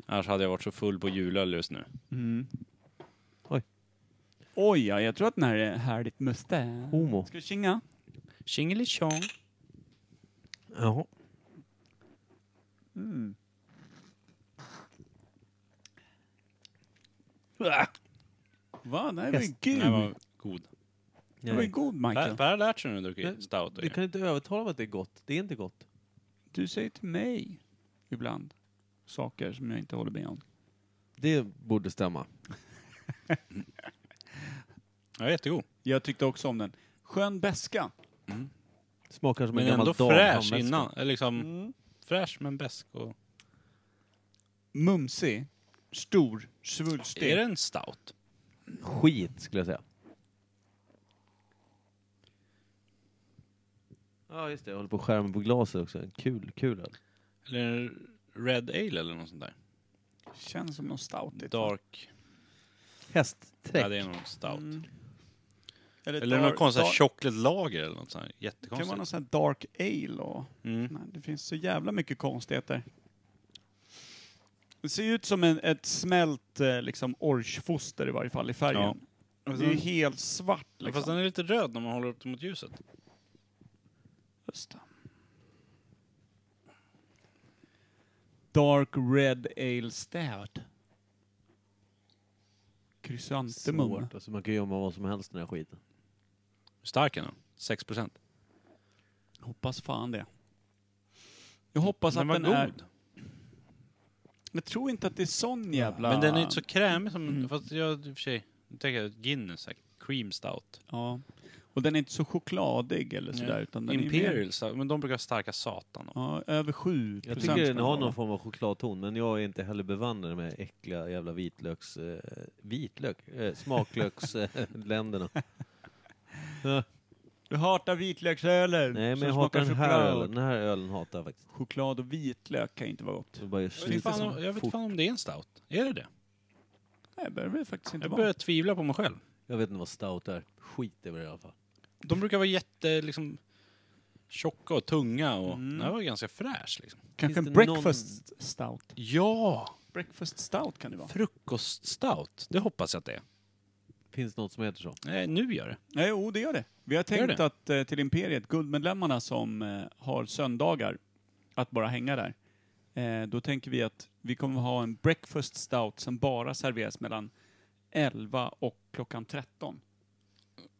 C: Annars hade jag varit så full på julöl just nu.
B: Mm.
D: Oj.
B: Oj, ja, jag tror att den här är härligt muste.
D: Homo.
B: Ska du tjinga?
C: Tjingelitjong.
D: Jaha.
B: Mm. Va? Den här var ju gul.
C: Den var god.
B: Den var ju
D: Nej.
B: god,
C: Per,
B: Michael.
C: per har lärt sig nu när du dricker
D: Men
C: stout. och
D: Du
C: grejer.
D: kan inte övertala mig att det är gott. Det är inte gott.
B: Du säger till mig ibland saker som jag inte håller med om.
D: Det borde stämma.
C: Ja, jättegod.
B: Jag tyckte också om den. Skön beska.
D: Smakar som
C: Men
D: en gammal
C: ändå
D: dam-
C: fräsch
D: damväska.
C: innan. Eller liksom
B: Mm.
C: fräsch men besk och...
B: Mumsig. Stor. Svulstig.
C: Är det en stout?
D: Skit, skulle jag säga. Ja, just det. Jag håller på och skär mig på glaset också. Kul, kul öl.
C: Eller en red ale eller något sånt där?
B: Känns som någon stoutigt.
C: Dark.
D: Hästträck.
C: Ja, det är nog stout.
B: Mm.
C: Eller någon
B: dark-
C: konstig
B: dark-
C: chokladlager eller något sånt här.
B: Det kan vara någon
C: Jättekonstigt.
B: sån här dark ale och...
C: Mm.
B: Nej, det finns så jävla mycket konstigheter. Det ser ju ut som en, ett smält eh, liksom orchfoster i varje fall i färgen. Det är ju helt svart
C: Ja, Fast
B: liksom.
C: den är lite röd när man håller upp den mot ljuset.
B: Just det. Dark Red Ale Stout. Krysantemum.
D: Svårt. Alltså man kan gömma vad som helst i den här skiten.
C: Hur stark är den? 6 procent.
B: Hoppas fan det. Jag hoppas
C: Den
B: att
C: var
B: den
C: god.
B: är... Jag tror inte att det är sån jävla...
C: Men den är inte så krämig som...
B: Mm.
C: Fast jag i och för sig... Nu tänker jag Guinness, säkert. cream stout.
B: Ja. Och den är inte så chokladig eller
C: Nej.
B: sådär. Utan den är mer-
C: Imperial stout, men de brukar ha starka satan.
B: Ja, över 7
D: Jag tycker den har någon form av chokladton, men jag är inte heller bevandrad med äckliga jävla vitlöks... Eh, vitlök? Eh, Smaklöksländerna.
B: Du hatar vitlöksölen!
D: Nej, men
B: som
D: jag
B: smakar
D: hatar den här
B: choklad.
D: ölen. Den här ölen hatar jag faktiskt.
B: Choklad och vitlök kan ju inte vara gott.
D: Så bara jag
C: Jag vet,
D: sliter
C: fan
D: som
C: om, jag vet
D: fort.
C: fan om det är en stout. Är det det?
B: Nej, det behöver det faktiskt inte
C: Jag
B: vara.
C: börjar tvivla på mig själv.
D: Jag vet inte vad stout är. Skit över det i alla fall.
C: De brukar vara jätte liksom tjocka och tunga och
B: Mm.
C: den här var ganska fräsch liksom.
B: Kanske
D: Finns
B: en
D: det
B: breakfast stout.
C: Ja!
B: Breakfast stout kan det vara.
C: Frukoststout. Det hoppas jag att det är.
D: Finns det något som heter så?
C: Nej, nu gör det.
B: Nej, jo, det gör det. Vi har
C: Gör
B: tänkt
C: det?
B: att eh, till Imperiet, guldmedlemmarna som eh, har söndagar att bara hänga där, eh, då tänker vi att vi kommer ha en breakfast stout som bara serveras mellan 11 och klockan 13.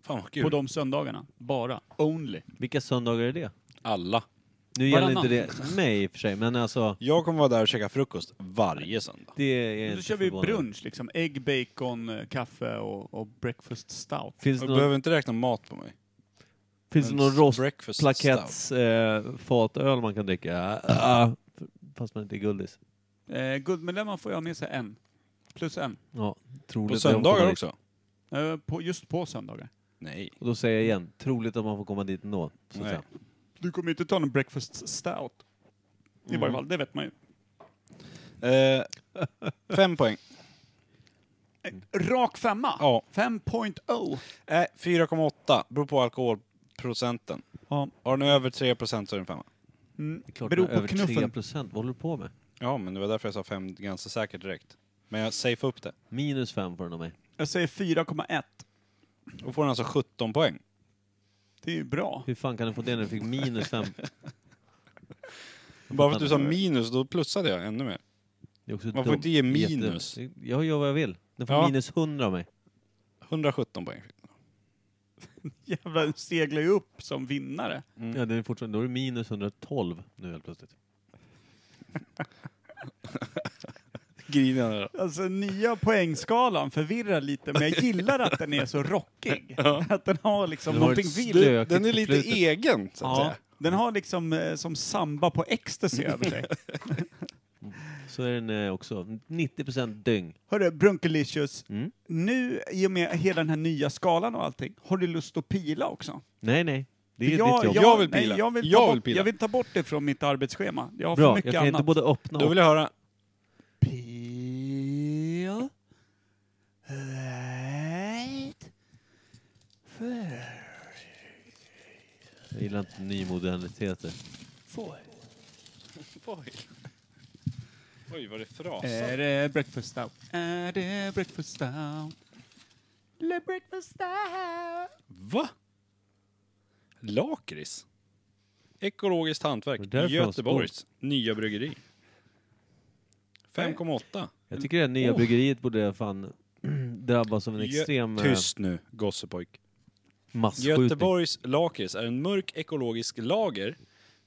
C: Fan vad
B: På
C: kul.
B: de söndagarna. Bara. Only.
D: Vilka söndagar är det?
C: Alla.
D: Nu
B: Varannan.
D: gäller inte det mig i och för sig, men alltså...
C: Jag kommer vara där och käka frukost varje söndag.
D: Det är jag
B: Då
D: inte
B: kör vi
D: förvånad över.
B: brunch liksom. Ägg, bacon, eh, kaffe och, och breakfast stout.
D: Finns det
C: Jag
D: någon,
C: behöver inte räkna mat på mig.
D: finns det någon
C: Breakfast stout.
D: rostplaketts eh, fatöl man kan dricka? Ah, fast man inte är guldis.
B: Eh, guldmedlemmar får jag med sig en. Plus en.
D: Ja, troligt
C: På
D: att man kommer
C: söndagar
D: dit.
C: också?
B: Eh, på, just på söndagar.
C: Nej.
D: Och då säger jag igen, troligt att man får komma dit ändå. Så att
C: Nej.
D: säga.
B: Du kommer inte ta någon breakfast stout. I
D: Mm.
B: varje fall, det vet man ju.
C: Eh, fem poäng.
D: Mm.
B: Rak femma.
C: Ja.
B: 5.0.
C: Nej, 4,8. Beror på alkoholprocenten.
B: Ja.
C: Har den över 3 procent så är den femma.
B: Mm.
D: Det är Klart
B: Beror
D: med
B: på
D: över
B: knuffen.
D: 3%, vad håller du på med?
C: Ja, men det var därför jag sa fem ganska säkert direkt. Men jag safear upp det.
D: Minus fem får den av mig.
B: Jag säger 4,1.
C: Då får den alltså 17 poäng.
B: Det är ju bra.
D: Hur fan kan du få det när du fick minus fem?
C: Bara för att du sa minus, då plussade jag ännu mer.
D: Det är också
C: Man får
D: dumt.
C: inte ge
D: Jätte-
C: minus.
D: Jag gör vad jag vill. Den får
C: Ja.
D: minus 100 av mig.
C: 117 poäng.
B: Jävlar, du seglar ju upp som vinnare.
C: Mm.
D: Ja, den är fortfarande, då är det minus 112 nu helt plötsligt.
C: Grinig
B: Alltså nya poängskalan förvirrar lite, men jag gillar att den är så rockig. Att den har liksom
D: Det har
B: någonting
D: varit
B: vilt.
D: stökigt
C: Den är
D: på
C: lite
D: slutet.
C: egen, så att
B: Ja,
C: säga.
B: den har liksom eh, som samba på ecstasy över sig.
D: Så är den eh, också 90% dyng.
B: Hörru, Brunkelicious.
D: Mm.
B: Nu, i och med hela den här nya skalan och allting, har du lust att pila också?
D: Nej, nej. Det är ditt jobb.
C: Jag vill pila.
B: Nej, jag, vill ta
C: Jag
B: bort,
C: vill pila.
B: jag vill ta bort det från mitt arbetsschema. Jag har för
D: Bra, jag
B: mycket
D: kan
B: annat.
D: inte både öppna
C: Då
D: och...
C: vill jag höra.
B: Peel. Right.
D: Jag gillar inte nymoderniteter.
C: Oj, Oj vad det frasar.
B: Är det breakfast stout? Är det breakfast stout? Le breakfast stout.
C: Va? Lakrits? Ekologiskt hantverk.
D: Det är därför de har
C: Göteborgs nya bryggeri. 5,8.
D: Jag tycker det här nya bryggeriet borde fan drabbas av en extrem
C: Oh. Gö-
D: eh,
C: Tyst nu, gossepojk.
D: masskjutning.
C: Göteborgs lakrits är en mörk ekologisk lager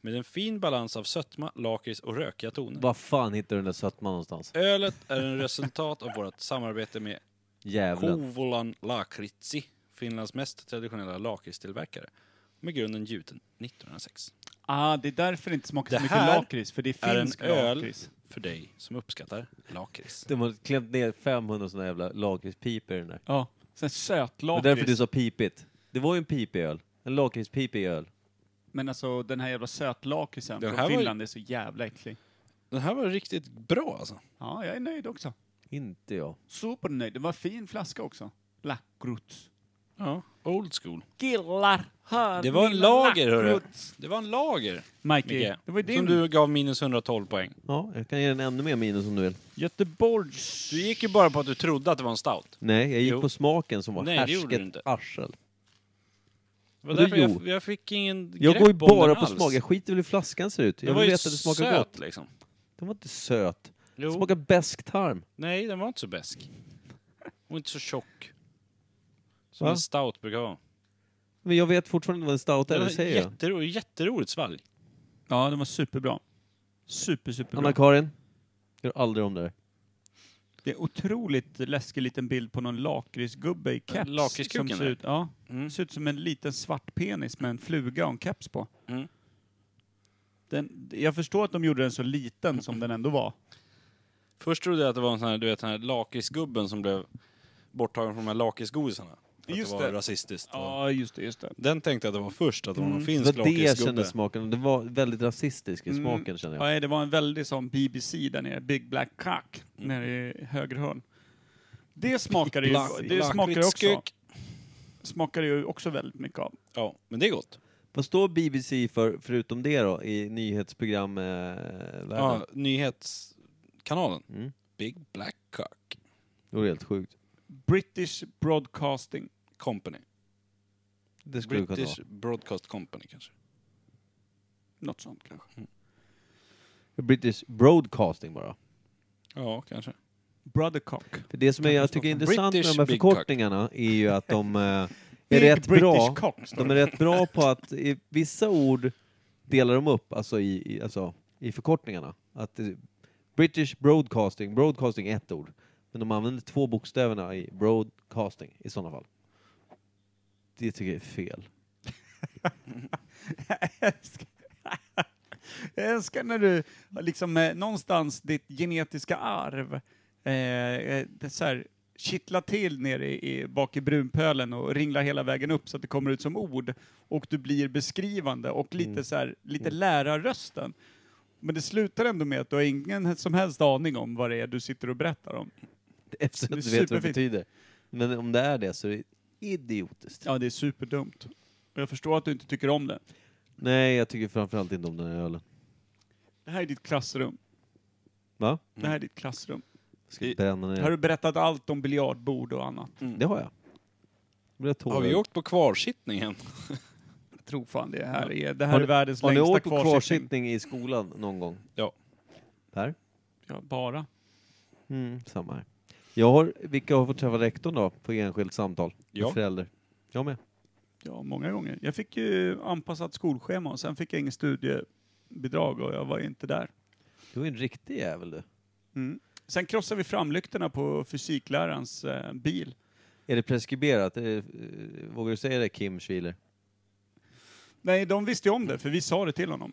C: med en fin balans av sötma, lakrits och rökiga toner.
D: Vad fan hittar du den där sötman någonstans?
C: Ölet är en resultat av vårt samarbete med
D: Djävulen.
C: Kovolan Lakritsi, Finlands mest traditionella lakritstillverkare, med grunden gjuten 1906.
B: Ah, det är därför det inte smakar
C: Det
B: så mycket
C: här
B: lakrits, för det är
C: är en
B: finsk
C: öl.
B: lakrits.
C: För dig som uppskattar lakrits.
D: De har klämt ner 500 såna jävla lakritspipor i den där.
B: Ja, sen
D: Det är därför
B: sötlakrits.
D: du sa pipigt. Det var ju en pipig öl. En lakritspipig öl.
B: Men alltså den här jävla sötlakritsen
C: Den
B: från
C: här var ju-
B: Finland är så jävla äcklig.
C: Den här var riktigt bra alltså.
B: Ja, jag är nöjd också.
D: Inte jag.
B: Supernöjd. Det var fin flaska också. Lackrots.
C: Ja, old school.
B: Killar, hör
C: Det var en
B: mina
C: lager, hörru.
B: lackrots.
C: Det var en lager,
B: Mikey,
C: Micke.
B: det var ju din.
C: Som du gav minus 112 poäng.
D: Ja, jag kan ge den ännu mer minus om du vill.
B: Göteborgs...
C: Du gick ju bara på att du trodde att det var en stout.
D: Nej, jag gick
C: Jo.
D: på smaken som var
C: Nej, det gjorde du
D: härsket
C: inte.
D: arsel.
C: Det var
D: Vadå
C: därför jag,
D: jo?
C: jag fick ingen
D: Jag
C: grepp
D: går ju
C: om
D: bara
C: den
D: på
C: alls.
D: smak. Jag skiter väl i hur flaskan ser ut.
C: Den
D: Jag
C: var
D: vill
C: ju
D: veta att det smakar
C: söt,
D: gott.
C: liksom.
D: Den var inte söt.
C: Jo.
D: Den smakar bäsktarm.
C: Nej, den var inte så besk. Och inte så tjock. Som
D: Va?
C: en stout brukar vara.
D: Men jag vet fortfarande vad en stout är,
C: Det
D: det
C: var
D: säger jag.
C: jättero, jätteroligt svalg.
B: Ja, den var superbra. Super, superbra.
D: Anna-Karin, gör aldrig om det där.
B: Det är otroligt läskig liten bild på någon lakritsgubbe i keps.
C: lakritskuken,
B: som ser
C: eller?
B: ut, ja,
C: Mm.
B: ser ut som en liten svart penis med en fluga och en keps på.
C: Mm.
B: Den, jag förstår att de gjorde den så liten som den ändå var.
C: Först trodde jag att det var en sån här, du vet, den här lakritsgubben som blev borttagen från de här lakritsgodisarna. För
B: Just
C: att det var
B: det.
C: rasistiskt.
B: Ja, just det, just det.
C: Den tänkte jag att det var först, att det var någon
D: Mm. Det
C: finsk
D: var det jag
C: lakritsgubbe.
D: kände smaken. Det var väldigt rasistisk i smaken känner jag.
B: Ja, det var en väldig sån BBC där nere, Big Black Cock,
D: Mm.
B: nere i höger hörn. Det smakar ju,
C: Bla-
B: det smakar ju också,
C: lakritskök.
B: smakar ju också väldigt mycket av.
C: Ja, men det är gott.
D: Vad står BBC för, förutom det då, i nyhetsprogram eh, världen?
C: Ja, nyhetskanalen.
D: Mm.
C: Big Black Cock
D: Det vore helt sjukt.
B: British Broadcasting.
C: Company.
D: Det skulle kunna vara.
C: British Broadcast Company kanske.
B: Något sånt kanske.
D: British Broadcasting bara.
C: Ja, kanske.
B: Brothercock.
D: För det som är, jag tycker är intressant med
C: British
D: de här
C: Big
D: förkortningarna är ju att de eh, är
B: Big
D: rätt
B: British
D: bra.
B: Cock, står
D: De
B: det.
D: är rätt bra på att i vissa ord delar de upp, alltså i, i, alltså, i förkortningarna. Att eh, British Broadcasting, Broadcasting är ett ord. Men de använder två bokstäverna i Broadcasting i sådana fall. Det tycker jag är fel.
B: Jag älskar- Jag älskar när du liksom eh, någonstans ditt genetiska arv eh, eh, det är så här, kittlar till nere i, i, bak i brunpölen och ringlar hela vägen upp så att det kommer ut som ord och du blir beskrivande och lite så här, lite lärarrösten. Men det slutar ändå med att du har ingen som helst aning om vad det är du sitter och berättar om.
D: Eftersom
B: Det är
D: du vet vad det
B: superfint.
D: betyder. Men om det är det så är det idiotiskt.
B: Ja, det är superdumt. Och jag förstår att du inte tycker om det.
D: Nej, jag tycker framförallt inte om den här ölen.
B: Det här är ditt klassrum.
D: Va?
B: Det här är ditt klassrum.
D: Jag ska
C: I-
D: bränna ner.
B: Här har du berättat allt om biljardbord och annat.
D: Det har jag. Det blir tårar.
C: Har vi åkt på kvarsittningen?
B: tror fan det här är. Det här
D: Har
B: är
D: ni-
B: världens
D: Har ni
B: längsta
D: åkt på
B: kvarsittning.
D: kvarsittning i skolan någon gång?
C: Ja.
D: Per?
B: Ja, bara.
D: Mm, samma här. Jag har, vilka har fått träffa rektorn då på enskilt samtal? Med
C: Ja.
D: Förälder. Jag med.
B: Ja, många gånger. Jag fick ju anpassat skolschema och sen fick jag inget studiebidrag och jag var ju inte där.
D: Du är en riktig jävel du.
B: Mm. Sen krossade vi framlyktorna på fysiklärarens eh, bil.
D: Är det preskriberat? Är det, eh, vågar du säga det Kim Schwiler?
B: Nej, de visste ju om det, för vi sa det till honom.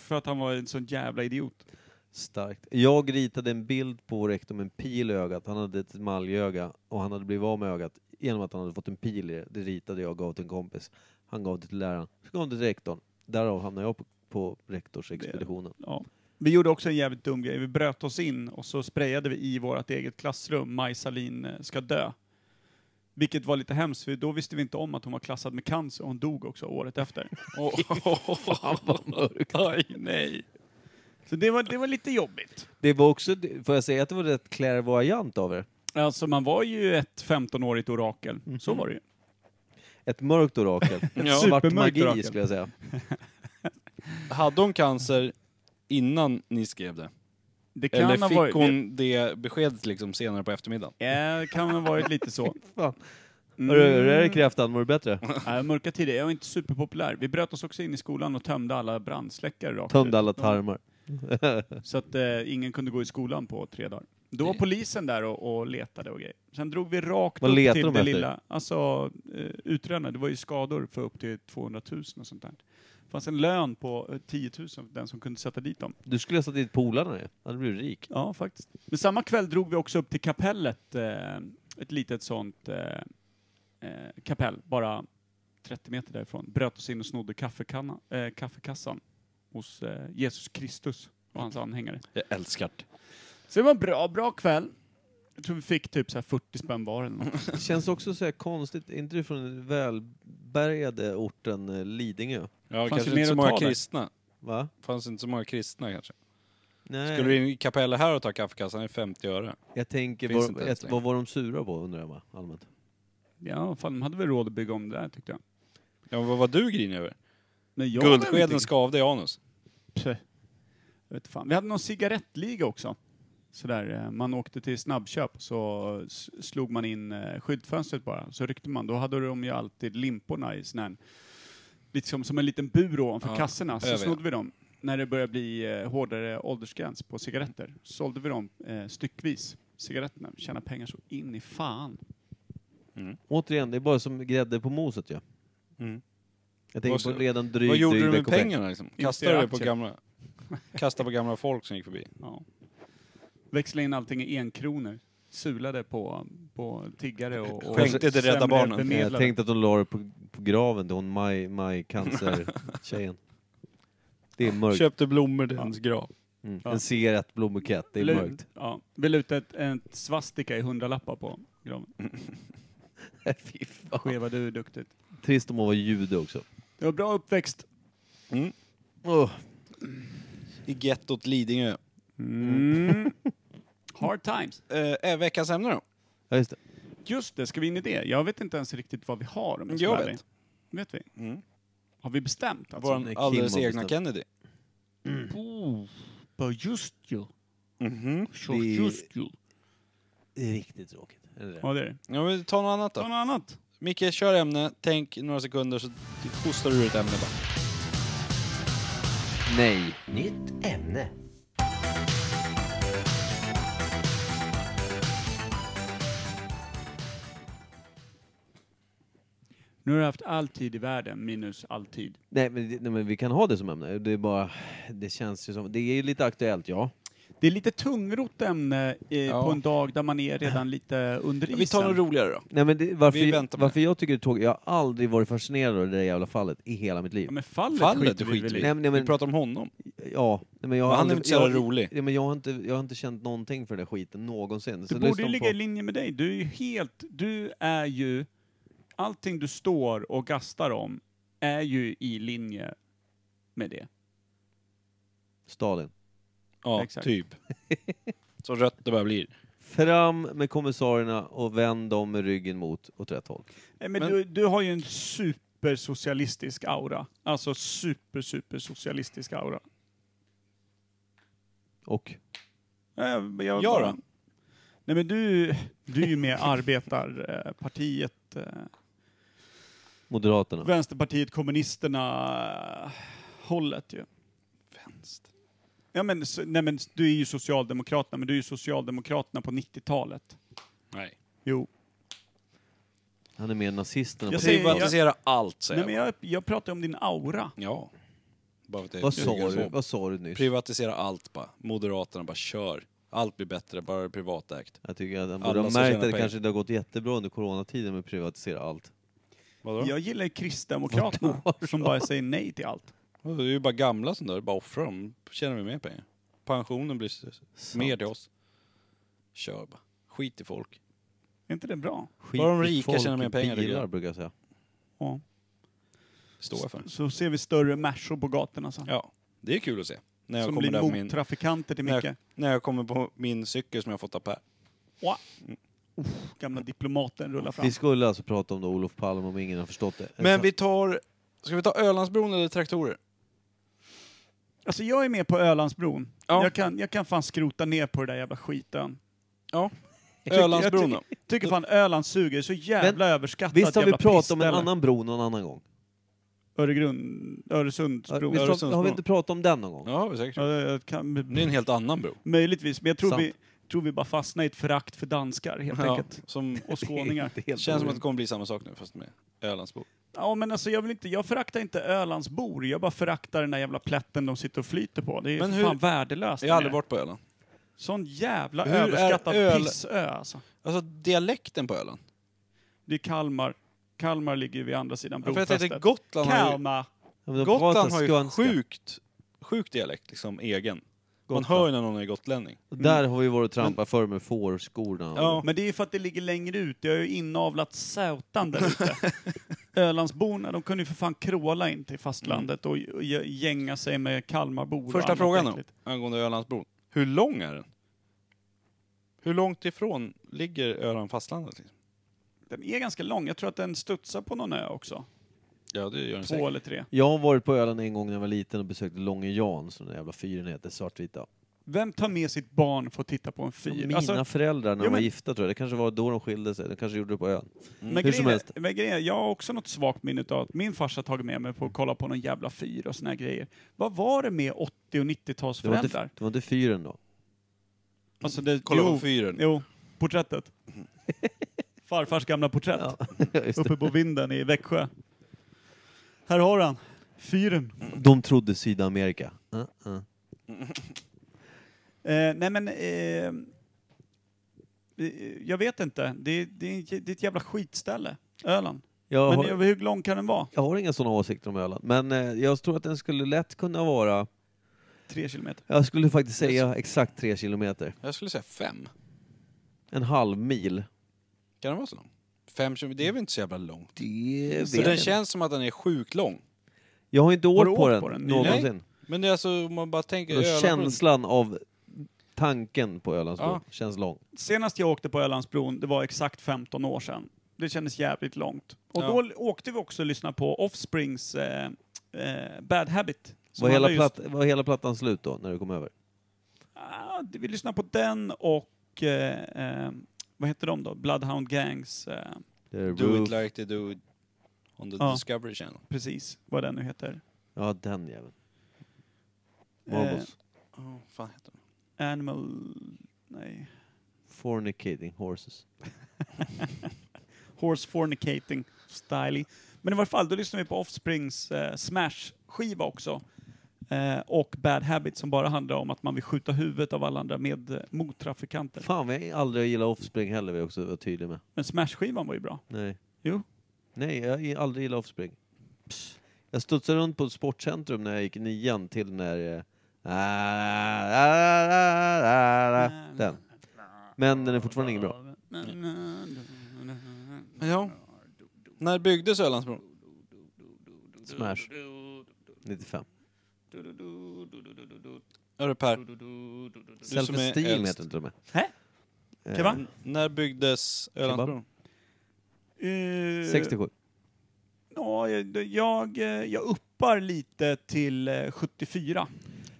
B: för att han var en sån jävla idiot.
D: Starkt. Jag ritade en bild på vår rektor med en pil i ögat. Han hade ett maljöga och han hade blivit av med ögat genom att han hade fått en pil i det. Det ritade jag och gav till en kompis. Han gav det till läraren. Så gav han det till rektorn. Därav hamnade jag på, på rektorsexpeditionen.
B: Ja. Vi gjorde också en jävligt dum grej. Vi bröt oss in och så sprayade vi i vårt eget klassrum Maj Sahlin eh, ska dö. Vilket var lite hemskt, för då visste vi inte om att hon var klassad med cancer och hon dog också året efter.
C: Fan vad mörkt. Aj, nej.
B: Så det var, det var lite jobbigt.
D: Det var också, får jag säga att det var rätt clairvoyant av er?
B: Alltså man var ju ett 15-årigt orakel, så var det ju.
D: Ett mörkt orakel. Ett
C: Ja.
D: svart
B: Supermörkt
D: magi
B: orakel. Mm.
D: skulle jag säga.
C: Hade hon cancer innan ni skrev det?
B: Det kan
C: Eller
B: ha
C: fick
B: varit,
C: hon det beskedet liksom senare på eftermiddagen?
B: Ja, kan ha varit lite så.
D: Fan.
B: Mm.
D: Hörru, hur är det kräftan? Mår du bättre?
B: Nej, mörka tider, jag var inte superpopulär. Vi bröt oss också in i skolan och tömde alla brandsläckare rakt ut.
D: Tömde alla tarmar.
B: Så att eh, ingen kunde gå i skolan på tre dagar. Då var polisen där och, och letade och grejer. Sen drog vi rakt
D: Vad
B: upp
D: letar
B: till
D: de
B: det
D: efter?
B: lilla, alltså eh, utrönade, det var ju skador för upp till 200 000 och sånt där. Det fanns en lön på eh, 10 000 för den som kunde sätta dit dem.
D: Du skulle ha satt dit polarna ju. Då hade du blivit rik.
B: Ja, faktiskt. Men samma kväll drog vi också upp till kapellet, eh, ett litet sånt eh, eh, kapell, bara 30 meter därifrån. Bröt oss in och snodde kaffekanna, eh, kaffekassan hos eh, Jesus Kristus. och hans anhängare.
C: Jag älskar det.
B: Så det var en bra, bra kväll. Jag tror vi fick typ så här 40 spänn var eller något.
D: Det känns också så här konstigt, är inte du från den välbärgade orten eh, Lidingö?
C: Ja,
B: Fanns
C: kanske
B: det
C: inte
B: mer
C: så
B: att
C: många
B: ta där?
C: kristna.
D: Va?
C: Fanns inte så många kristna kanske.
D: Nej,
C: Skulle du in i kapellet här och ta kaffekassan är 50 öre.
D: jag tänker,
C: Finns
D: vad-
C: inte ens
D: ett, vad var de sura på undrar jag bara, allmänt?
B: Ja, fan de hade väl råd att bygga om det där tyckte jag.
C: Ja, men vad var du grinig över?
B: Men jag var väl
C: Guldskeden
B: inte-
C: skavde i anus.
B: Pö. Jag vet fan. Vi hade någon cigarettliga också. Sådär, eh, man åkte till snabbköp så s- slog man in eh, skyltfönstret bara. Så ryckte man. Då hade de ju alltid limporna i sån här, liksom som en liten bur ovanför
C: Ja,
B: kassorna. Så
C: över, ja.
B: snodde vi dem. När det började bli eh, hårdare åldersgräns på cigaretter sålde vi dem eh, styckvis, cigaretterna. Tjäna pengar så in i fan.
D: Återigen, det är bara som grädde på moset ju.
C: Mm.
D: Jag tänker
C: Och så-
D: på redan dryg,
C: vad gjorde
D: dryg
C: du med
D: veckopeng.
C: pengarna liksom? Kastade du det på
B: aktier.
C: gamla... Kastade på gamla folk som gick förbi.
B: Ja. Växla in allting i enkronor. Sulade på, på tiggare och, och
C: Skänkte till Rädda
B: sämre
C: Barnen.
D: Nej, Jag
B: bemedlade.
D: tänkte att de la det på, på graven till hon maj, maj cancer-tjejen. Det är mörkt.
C: Köpte blommor till hennes grav.
D: Mm.
B: Ja.
D: En cigarettblombukett, det är
B: Lut-
D: mörkt.
B: Ja. Vi lutade ett, ett svastika i hundralappar på graven.
D: Fy fan.
B: Skeva, du är duktigt.
D: Trist om hon var jude också.
B: Det var bra uppväxt.
C: Mm.
D: Åh,
C: I gettot Lidingö. Mm.
B: Hard times.
C: Eh, Eh, veckans ämne då?
D: Ja, just det.
B: Just det, ska vi in i det? Jag vet inte ens riktigt vad vi har om ska
C: Jag
B: vara
C: vet.
B: ärlig. Vet vi?
C: Mm.
B: Har vi bestämt alltså?
D: när
C: Vår
D: Kim
C: alldeles
D: har
C: egna
D: bestämt.
C: Kennedy.
B: Oh, bara just ju.
C: Mhm.
B: Så
D: Vi-
B: Just ju.
D: det är riktigt tråkigt. Är det det?
B: Ja, det är det.
C: Ja, men ta något annat
B: Ta
C: då.
B: något annat.
C: Micke, kör ämne, tänk några sekunder så hostar du ur ett ämne bara.
D: Nej.
A: Nytt ämne.
B: Nu har du haft all tid i världen minus all tid.
D: Nej, men, det- nej, men vi kan ha det som ämne. Det är bara, det känns ju som, det är ju lite aktuellt ja.
B: Det är lite tungrott ämne eh, på en dag där man är redan lite under isen.
C: Vi tar något roligare då.
D: Nej, men det, varför,
C: Vi väntar på
D: varför jag tycker det är tråkigt, jag har aldrig varit fascinerad av det där jävla fallet i hela mitt liv.
B: Ja, men fallet,
C: Fallet
B: skiter vi väl
C: skiter
B: i.
C: vi
D: Nej,
C: i.
D: men- nej, men-
C: Vi pratar om honom.
D: Ja, nej, men jag har
C: Men han är inte så
D: jag-
C: jävla rolig.
D: Ja, men jag, har inte, jag har inte känt någonting för den där skiten någonsin.
B: Du
D: Så
B: borde
D: lyssna
B: ju ligga
D: på-
B: i linje med dig. Du är ju helt, du är ju, allting du står och gastar om är ju i linje med det.
D: Stalin.
C: Ja,
B: Exakt.
C: typ. Så rött det bara blir.
D: Fram med kommissarierna och vänd dem med ryggen mot åt rätt håll.
B: Nej, Men,
C: Men-
B: Du, du har ju en supersocialistisk aura. Alltså super, super socialistisk aura.
D: Och
B: Jag, jag,
C: Jag då?
B: Nej men du, du är ju med arbetarpartiet, eh,
D: Moderaterna.
B: Vänsterpartiet kommunisterna eh, hållet ju.
C: Vänster.
B: Ja, men, s- nej, men s- du är ju Socialdemokraterna, men du är ju Socialdemokraterna på 90-talet.
C: Nej.
B: Jo.
D: Han är mer nazisterna.
B: Jag
D: på-
B: säger-
C: Privatisera allt säger
B: Nej,
C: jag.
B: men jag, jag pratar om din aura.
C: Ja. Bara för att det är
D: vad, sa
C: så.
D: du? vad sa du nyss?
C: Privatisera allt bara. Moderaterna bara kör. Allt blir bättre, bara det är privatägt.
D: Jag tycker att han
C: Alla
D: borde ha
C: ska
D: märkt
C: tjäna
D: att det
C: pengar.
D: kanske inte har gått jättebra under coronatiden med att privatisera allt.
C: Vadå?
B: Jag gillar ju Kristdemokraterna som bara säger nej till allt.
C: Det är ju bara gamla som dör, bara offra dem. Tjänar vi mer pengar. Pensionen blir s- mer till oss. Kör bara. Skit i folk.
B: Är inte det bra?
D: Skit
C: Bara de
D: i
C: rika
D: folk
C: tjänar
D: i
C: mer pengar, tycker
D: bilar
C: jag.
D: brukar jag säga.
B: Ja.
C: Står jag för.
B: Så ser vi större märsor på gatorna sen.
C: Ja, det är kul att se. När jag,
B: som
C: kommer
B: blir
C: där på min,
B: mottrafikanter till
C: när,
B: Micke.
C: jag, när jag kommer på min cykel som jag fått av Per.
B: Wow. Uff, gamla diplomaten rullar fram.
D: Vi skulle alltså prata om då Olof Palme om ingen har förstått det. Alltså,
C: Men vi tar... Ska vi ta Ölandsbron eller traktorer?
B: Alltså jag är med på Ölandsbron.
C: Ja.
B: Jag, kan, jag kan fan skrota ner på den där jävla skiten.
C: Ja.
B: tycker-
C: Ölandsbron då?
B: jag ty- tycker fan Öland suger, så jävla överskattat
D: Visst har vi
B: jävla
D: pratat om en
B: pissställe.
D: annan bro någon annan gång?
B: Öregrund, Öresundsbron.
D: Visst har, har
C: Öresundsbron.
D: vi inte pratat om den någon gång?
C: Ja, vi säkert.
B: Ja, jag kan,
C: Det är en helt annan bro.
B: möjligtvis, men jag tror
D: Sant.
B: vi, tror vi bara fastnar i ett förakt för danskar helt
C: Ja,
B: enkelt.
C: som,
B: Och skåningar.
D: Det är helt
C: känns som att
D: orimligt.
C: det kommer bli samma sak nu fast med Ölandsbro.
B: Ja men alltså jag vill inte, jag föraktar inte Ölandsbor, jag bara föraktar den där jävla plätten de sitter och flyter på. Det är
C: Men
B: men
C: hur-
B: fan värdelöst.
C: Jag har
B: det
C: aldrig
B: är.
C: varit på Öland.
B: Sån jävla
C: Hur är
B: överskattad
C: Öl-
B: pissö alltså.
C: Alltså dialekten på Öland.
B: Det är Kalmar. Kalmar ligger ju vid andra sidan
C: Ja, för jag tänkte
B: brofästet.
C: Gotland har ju,
B: Kalmar!
D: Ja, men de pratar
C: Gotland har ju
D: skånska.
C: sjukt, sjuk dialekt, liksom egen. Man hör ju när någon är gotlänning.
D: Och Där har vi varit och trampat förr med fårskorna.
C: Ja.
B: Men det är ju för att det ligger längre ut. Jag har ju inavlat sätan där ute. Ölandsborna, de kunde ju för fan kråla in till fastlandet och j- j- gänga sig med Kalmarbor och
C: Första
B: annat
C: frågan då,
B: äckligt.
C: angående Ölandsbron. Hur lång är den? Hur långt ifrån ligger Öland fastlandet? Liksom?
B: Den är ganska lång. Jag tror att den studsar på någon ö också.
C: Ja, det gör den
B: Två
C: säkert.
B: eller tre.
D: Jag har varit på Öland en gång när jag var liten och besökte Långe Jan, som den jävla fyren heter, svartvita.
B: Vem tar med sitt barn för att titta på en fyr?
D: Mina
B: Alltså,
D: föräldrar
B: Ja,
D: när de var
B: men-
D: gifta tror jag, det kanske var då de skilde sig, de kanske gjorde det på ön.
B: Men
D: Mm. Hur som
B: grejen,
D: helst.
B: är- men grejen, är, jag har också något svagt minne av att min farsa tagit med mig på att kolla på någon jävla fyr och såna här grejer. Vad var det med 80 och
D: Det var, inte,
B: 90-talsföräldrar?
D: det var inte fyren då.
B: Alltså det,
C: Kolla
B: jo,
C: på fyren.
B: jo, porträttet. Farfars gamla porträtt
D: Just det.
B: uppe på vinden i Växjö. Här har han, fyren.
D: De trodde Sydamerika. Uh, uh.
B: Eh, nej men, eh, eh, jag vet inte. Det, det, är- det är ett jävla skitställe, Öland.
D: Jag,
B: Men
D: har,
B: hur- hur lång kan den vara?
D: jag har inga sådana åsikter om Öland, men eh, jag tror att den skulle lätt kunna vara,
B: Tre kilometer.
D: jag skulle faktiskt säga exakt tre kilometer.
C: Jag skulle säga fem.
D: En halv mil.
C: Kan den vara så lång? Fem kilometer, det är väl inte så jävla långt?
D: Det
C: Så den känns som att den är sjukt lång.
D: Jag har inte
B: Har
D: åkt
B: du
D: på
B: åkt
D: den,
B: på den nyligen?
D: någonsin.
C: Men det är alltså, om man bara tänker...
D: Och
C: Ölandsbron-
D: känslan av tanken på Ölandsbron
C: Ja.
D: känns lång.
B: Senast jag åkte på Ölandsbron, det var exakt 15 år sedan. Det kändes jävligt långt. Och
C: Ja.
B: då l- åkte vi också och lyssnade på Offsprings eh, eh, Bad Habit. som
D: Var hela,
B: handlar just-
D: platt, var hela plattan slut då, när du kom över?
B: Ah, det- vi lyssnade på den och eh, eh, vad heter de då? Bloodhound Gangs. Eh,
C: Do it like they do it on the
B: Ja.
C: Discovery Channel.
B: precis, vad den nu heter.
D: Ja, den jäveln.
B: Eh.
D: Marbles.
C: Oh, fan heter den?
B: Animal... Nej.
D: Fornicating horses.
B: Horse Fornicating Styling. Men i varje fall, då lyssnade vi på Offsprings eh, Smash-skiva också. Eh, och Bad Habit som bara handlar om att man vill skjuta huvudet av alla andra med eh, mottrafikanter.
D: Fan, vi har aldrig gillat Offspring heller, vill jag också vara tydlig med.
B: Men Smash-skivan var ju bra.
D: Nej.
B: Jo.
D: Nej, jag har aldrig gillat Offspring. Jag studsade runt på ett sportcentrum när jag gick i nian till när... eh, Den. Men den är fortfarande ingen bra.
C: Men ja, när byggdes Ölandsbron?
D: Smash. 95.
C: Hörru Per, som är
D: Self-esteem
C: äldst.
D: heter inte de.
B: Hä?
D: Eh,
B: Kebab?
C: n- när byggdes Ölandsbron?
B: Eh,
D: 67.
B: Ja, jag, jag, eh, jag uppar lite till eh, 74.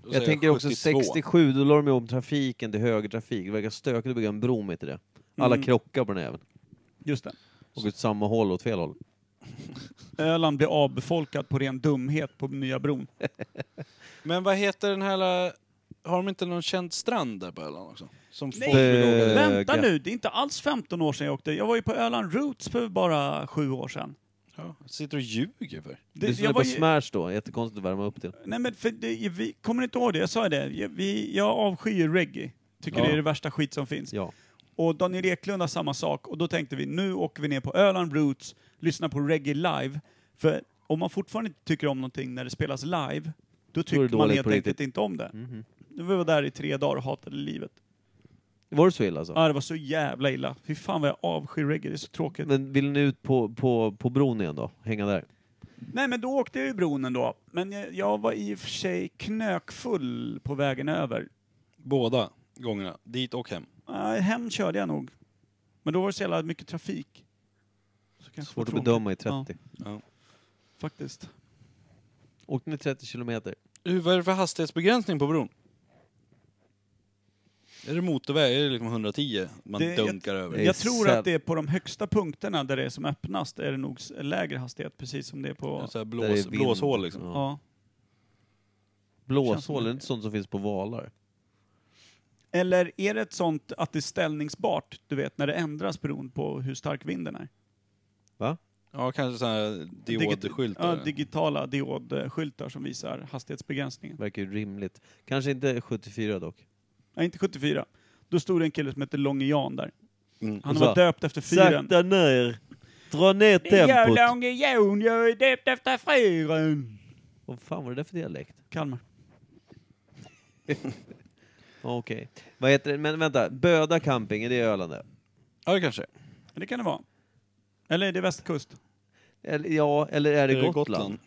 C: Då säger
D: Jag tänker också
C: 72.
D: 67, då la de ju om trafiken till högertrafik. Det verkar stökigt att bygga en bro mitt i det. Alla
B: Mm.
D: krockar på den även.
B: Just det.
D: Och åt samma håll och åt fel håll.
B: Öland blir avbefolkad på ren dumhet på nya bron.
C: Men vad heter den här... jävla- Har de inte någon känd strand där på Öland också? Som folk
B: Det-
C: vill åka till.
D: Öga.
B: Vänta nu, det är inte alls 15 år sedan jag åkte. Jag var ju på Öland Roots för bara sju år sedan.
C: Ja, sitter och ljuger för.
B: Det,
D: Du
B: jag
D: lyssnade
B: var
D: på
B: ju,
D: Smash då, jättekonstigt att värma upp till.
B: nej men för det, vi, kommer ni inte ihåg det? Jag sa ju det. Jag, vi, jag avskyr reggae. Tycker
D: Ja.
B: det är det värsta skit som finns.
D: Ja.
B: Och Daniel Eklund har samma sak. Och då tänkte vi, nu åker vi ner på Öland Roots, lyssnar på reggae live. För om man fortfarande inte tycker om någonting när det spelas live, då tycker man
D: dåligt
B: helt
D: på
B: enkelt
D: riktigt.
B: inte om det.
D: Mhm.
B: Vi var där i tre dagar och hatade livet.
D: Var det så illa alltså?
B: Ja, det var så jävla illa. Fy fan vad jag avskyr reggae, det är så tråkigt.
D: Men vill ni ut på, på, på bron igen då? Hänga där?
B: Nej men då åkte jag ju bron ändå. Men jag, jag var i och för sig knökfull på vägen över.
C: Båda gångerna, dit och hem.
B: Nej, hem körde jag nog. Men då var det så jävla mycket trafik. Så kanske
D: Svårt
B: det
D: att
B: var
D: bedöma i
B: tråkigt.
D: 30.
C: Ja.
B: Ja, faktiskt.
D: Åkte ni 30 kilometer?
C: Hur- Vad är det för hastighetsbegränsning på bron? Är det motorväg? Är det liksom 110 man
B: Det- jag-
C: dunkar över?
D: Det är
B: Jag tror
D: säll-
B: att det är på de högsta punkterna där det är som öppnast är det nog s- lägre hastighet precis som det är på...
C: En sån här
D: Där det är
C: blås,
D: vind.
C: blåshål liksom.
D: Ja.
B: Ja. Känns som
D: Blåshål,
B: det.
D: är det inte sånt som finns på valar?
B: Eller är det ett sånt att det är ställningsbart, du vet, när det ändras beroende på hur stark vinden är?
C: Ja, kanske sån här
B: Ja,
C: diodskyltar.
B: digitala diodskyltar som visar hastighetsbegränsningen.
D: Verkar ju rimligt. Kanske inte 74 dock.
B: Nej, inte 74. Då stod det en kille som hette Långe Jan där.
C: Mm.
B: Han
D: Och
B: var
D: så,
B: döpt efter fyren.
D: Sakta ner! Dra ner
B: Jag
D: tempot!
B: Långe Jan, jag är döpt efter fyren.
D: Vad fan var det där för dialekt?
B: Kalmar.
D: Okej. Vad heter det? Men vänta, Böda camping, är det Öland det?
C: Ja, det kanske är.
B: Det kan det vara. Eller är det västkust?
D: Eller, ja, eller är det,
C: Är det
D: Gotland?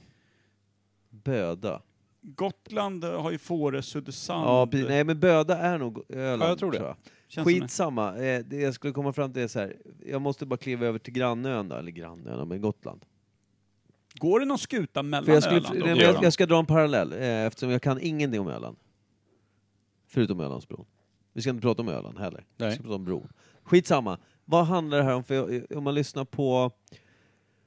D: Böda.
B: Gotland eh, har ju Fårö, Södersand.
D: Ja, precis. nej men Böda är nog Öland
C: Ja, jag tror det.
B: Känns som
D: Skitsamma, eh, det jag skulle komma fram till är så här. jag måste bara kliva över till grannön då, eller grannön, ja, men Gotland.
B: det. Går det någon skuta mellan
D: För jag, skulle,
B: Öland och
D: nej, men
B: Gotland?
D: jag, jag ska dra en parallell, eh, eftersom jag kan ingenting om Öland. Förutom Ölandsbron. Vi ska inte prata om Öland heller. Vi
C: Nej.
D: ska prata om bron. Skitsamma. Vad handlar det här om? För jag- om man lyssnar på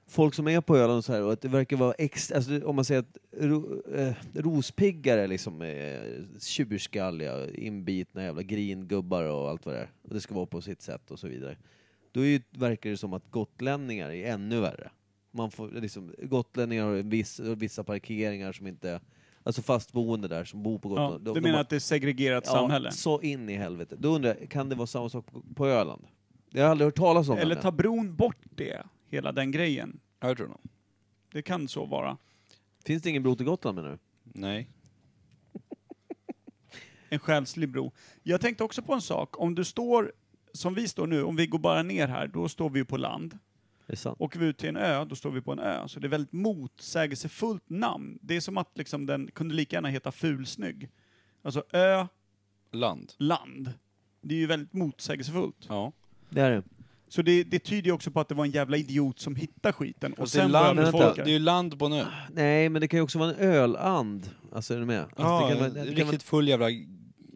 D: folk som är på Öland och så här, och att det verkar vara extra, alltså, om man säger att ro, eh, rospiggar är liksom eh, tjurskalliga, inbitna jävla gringubbar och allt vad det är. Och det ska vara på sitt sätt och så vidare. Då är ju, verkar det som att gotlänningar är ännu värre. Man får, liksom, gotlänningar har en viss, vissa parkeringar som inte, alltså fastboende där som bor på
B: Ja,
D: Gotland. De-
B: du
D: de
B: menar
D: har-
B: att det är segregerat samhälle?
D: så in i helvete. Då undrar jag, kan det vara samma sak på, på Öland? Jag har aldrig hört talas om
B: Eller
D: det.
B: tar bron bort det, hela den grejen?
C: Ja, jag tror nog.
B: Det kan så vara.
D: Finns det ingen bro till Gotland menar du?
C: Nej.
B: En själslig bro. Jag tänkte också på en sak. Om du står, som vi står nu, om vi går bara ner här, då står vi ju på land.
D: Är det sant?
B: Åker vi ut till en ö, då står vi på en ö. Så det är väldigt motsägelsefullt namn. Det är som att liksom den kunde lika gärna heta Fulsnygg. Alltså ö,
C: Land.
B: land. Det är ju väldigt motsägelsefullt.
C: Ja.
D: Det är det.
B: Så det, det tyder ju också på att det var en jävla idiot som hittade skiten och
C: Alltså, det, är
B: sen
C: land,
B: började
D: vänta,
B: folka.
C: det är ju land på en ö.
D: Nej, men det kan ju också vara en öland. Alltså är du med? Alltså,
C: ja,
D: det kan vara-
C: en
D: det kan
C: riktigt full jävla
D: vara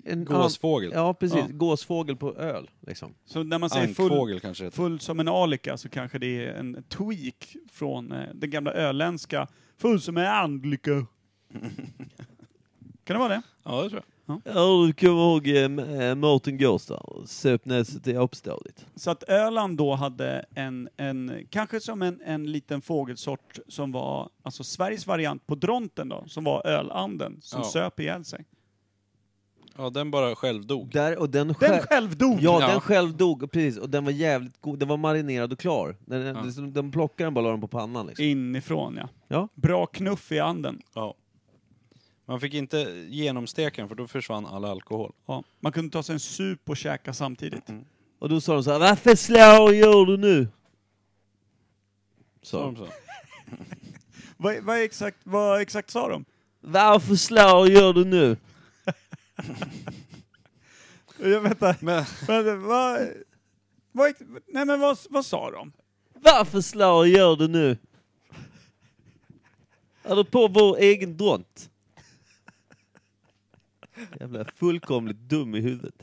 D: en
C: gåsfågel.
D: an- Ja, precis.
B: Ja.
D: Gåsfågel på öl, liksom.
B: Så när man säger full,
C: Ankfågel kanske det heter.
B: full som en alika så kanske det är en tweak från eh, den gamla öländska full som en andlika. kan det vara det?
C: Ja, det tror jag.
D: Ja, du kommer ihåg äh, Mårten Gås där? Söp näset i uppstådigt.
B: Så att Öland då hade en, en kanske som en, en liten fågelsort som var, alltså Sveriges variant på dronten då, som var ölanden som
C: Ja.
B: söp ihjäl sig.
C: Ja, den bara självdog.
D: Där, och den,
B: Den
D: själv-
B: själv dog!
D: Ja,
C: Ja.
D: den själv dog, precis. Och den var jävligt god. Den var marinerad och klar. Den,
C: Ja.
D: den, den plockade den bara och la den på pannan liksom.
B: Inifrån ja.
D: Ja.
B: Bra knuff i anden.
C: Ja. Man fick inte genomsteka den för då försvann all alkohol.
B: Ja. Man kunde ta sig en sup och käka samtidigt.
C: Mm.
D: Och då sa de så här, varför slår gör du nu?
C: Så.
D: Så.
C: de sa.
B: Vad, vad, exakt, vad exakt sa de?
D: Varför slår gör du nu?
B: Jag vänta,
C: Men
B: vänta vad, vad, ex- nej men vad, vad sa de?
D: Varför slår gör du nu? Är du på vår egen dront? Jävla fullkomligt dum i huvudet.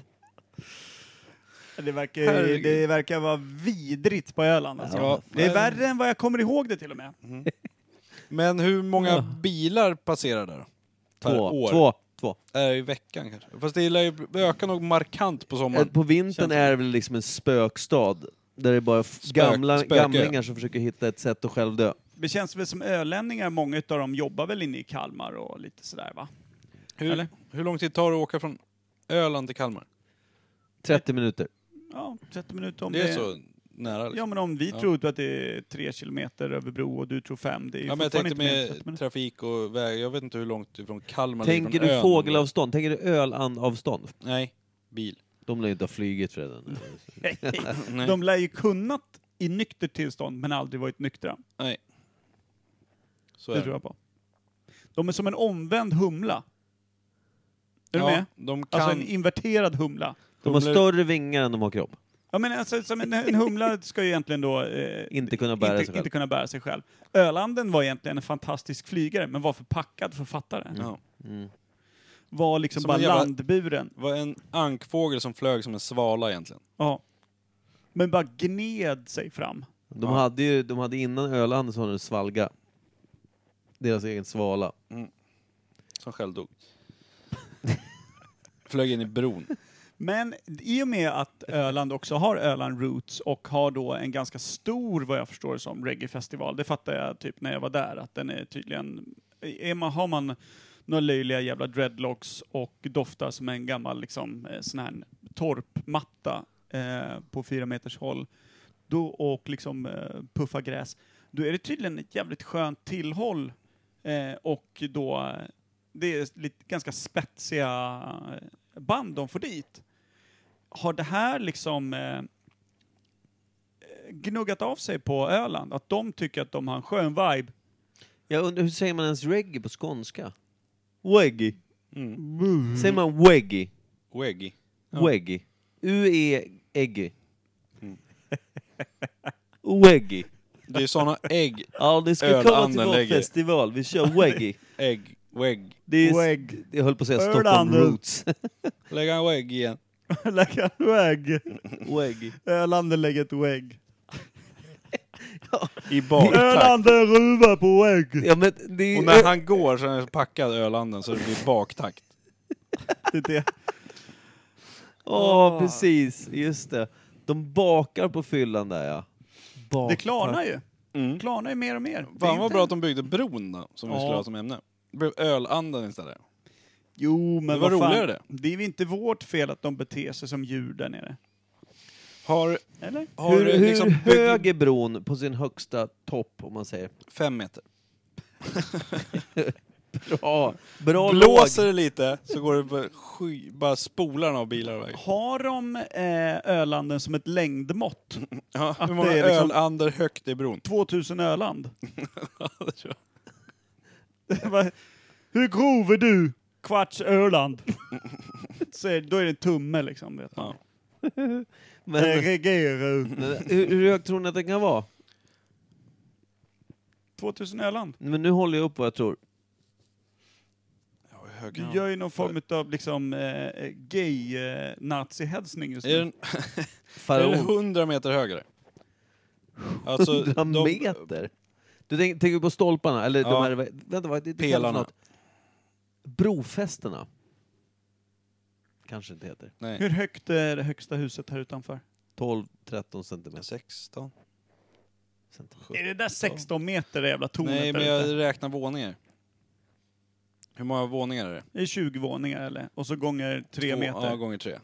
B: Det verkar,
C: Herregud.
B: det verkar vara vidrigt på Öland alltså.
C: Ja.
B: Det är värre än vad jag kommer ihåg det till och med.
C: Men hur många bilar passerar där? Per
D: Två,
C: år?
D: två, två.
C: Äh, I veckan kanske? Fast det lär ju öka nog markant på
D: Eh,
C: sommaren.
D: På vintern
C: Känns
D: är det väl liksom en spökstad. Där det är bara f- gamla,
C: spöke.
D: gamlingar som försöker hitta ett sätt att själv dö.
B: Det känns väl som ölänningar, många utav dem jobbar väl inne i Kalmar och lite sådär va?
C: Hur,
B: eller?
C: hur lång tid tar det att åka från Öland till Kalmar?
D: 30 minuter.
B: Ja, 30 minuter om
C: det är så nära liksom.
B: Ja men om vi
C: Ja.
B: tror att det är tre kilometer över bro och du tror fem, det är ju
C: Ja, men jag
B: fortfarande
C: tänkte
B: inte mer än 30
C: med
B: minuter.
C: trafik och väg. Jag vet inte hur långt ifrån Kalmar det är
D: Tänker
C: från
D: du
C: ön.
D: fågelavstånd? Tänker du ölandavstånd?
C: Nej, bil.
D: De lär ju inte ha flugit redan.
C: Nej.
B: De lär ju kunnat i nyktert tillstånd men aldrig varit nyktra.
C: Nej. Så
B: Det
C: är
B: tror
C: det.
B: jag på. De är som en omvänd humla. Är du med?
C: de kan...
B: Alltså en inverterad humla.
D: De har
C: Humlor-
D: större vingar än de har kropp.
B: Ja, men alltså, som en, en humla ska ju egentligen då eh,
D: Inte kunna bära
B: inte,
D: sig själv.
B: inte kunna bära sig själv. Ölanden var egentligen en fantastisk flygare, men var förpackad författare.
C: Ja.
B: Var liksom
C: Som
B: bara
C: en jävla-
B: landburen.
C: var en ankfågel som flög som en svala egentligen.
B: Ja. Men bara gned sig fram.
D: De hade ju, de hade innan Öland så hade de svalga. Deras egen svala.
C: Som själv dog. flög in i bron.
B: Men i och med att Öland också har Öland Roots och har då en ganska stor, vad jag förstår det som, reggae-festival. Det fattar jag typ när jag var där, att den är tydligen... Är man, har man några löjliga jävla dreadlocks och doftar som en gammal liksom, eh, sån här torpmatta eh, på fyra meters håll då, och liksom eh, puffar gräs, då är det tydligen ett jävligt skönt tillhåll eh, och då eh, det är lite ganska spetsiga eh, band de får dit. Har det här liksom eh, gnuggat av sig på Öland? Att de tycker att de har en skön vibe?
D: Jag undrar, hur säger man ens reggae på skånska? Weggy.
C: Mm.
D: Säger man weggy?
C: Weggy.
B: Ja.
D: Weggy. E U-E-Eggy.
C: Mm.
D: Weggy.
C: Det är såna ägg,
D: Ja, ni ska
C: Ölanden
D: komma till vår
C: lägger.
D: festival. Vi kör weggy.
C: ägg, wegg.
D: Det är,
B: Wegg.
D: Jag höll på att säga Stockholm
B: Ölanden.
D: Roots.
C: Lägg en wegg igen.
B: Lägga ett vägg.
D: weggy.
B: Öland lägger ett vägg.
C: I baktakt.
B: Öland är ruva på vägg.
D: Ja, men det är
C: Och när han går så är han packad ölanden så det blir baktakt.
B: Det är det.
D: Ja, precis. Just det. De bakar på fyllan där, ja.
B: det klarnar ju.
C: Mm.
B: klarnar ju mer och mer. Det är
C: Fan vad
B: inte-
C: bra att de byggde bron då, som vi
B: Ja.
C: skulle ha som ämne. Det blev ölanden istället.
B: Jo, men
C: Det var
B: vad fan.
C: roligare det.
B: Det är väl inte vårt fel att de beter sig som djur där nere.
C: Har,
B: Eller?
C: har
D: Hur,
C: du
D: hur
C: liksom bygg-
D: hög är bron på sin högsta topp, om man säger?
C: Fem meter.
D: Bra. Bra
C: Blåser
D: låg.
C: det lite så går det bara, sky, bara spolar den av bilar iväg.
B: Har de eh, Ölanden som ett längdmått?
C: Ja, hur
B: det
C: många
B: är liksom-
C: ölander högt är bron?
B: 2000 Öland? Det var- Hur grov är du? Kvarts Öland. Så, då är det en tumme liksom. Vet man.
C: Ja.
D: Men,
B: Regeru.
D: hur, hur hög tror ni att den kan vara?
B: 2000 Öland.
D: Men nu håller jag upp vad jag tror.
C: Ja, hur hög
B: Du
C: är den?
B: gör ju någon form av liksom, eh, gay-nazi-hetsning just
C: Är
B: nu.
C: den är den
D: Faraon.
C: 100 meter högre? Alltså,
D: 100 meter? Du tänker, tänker på stolparna? Eller de
C: Ja.
D: här... Vänta, vad det, det kallas
C: Pelarna.
D: något. Brofästena. Kanske inte heter.
C: Nej,
B: Hur högt är det högsta huset här utanför?
D: 12-13 centimeter.
C: 16?
D: centimeter.
B: Är det där 16 meter det jävla tornet
C: Nej, men
B: där ute?
C: jag räknar våningar. Hur många våningar är det?
B: Det är 20 våningar eller? Och så gånger 3
C: Två-
B: meter.
C: Ja, gånger tre.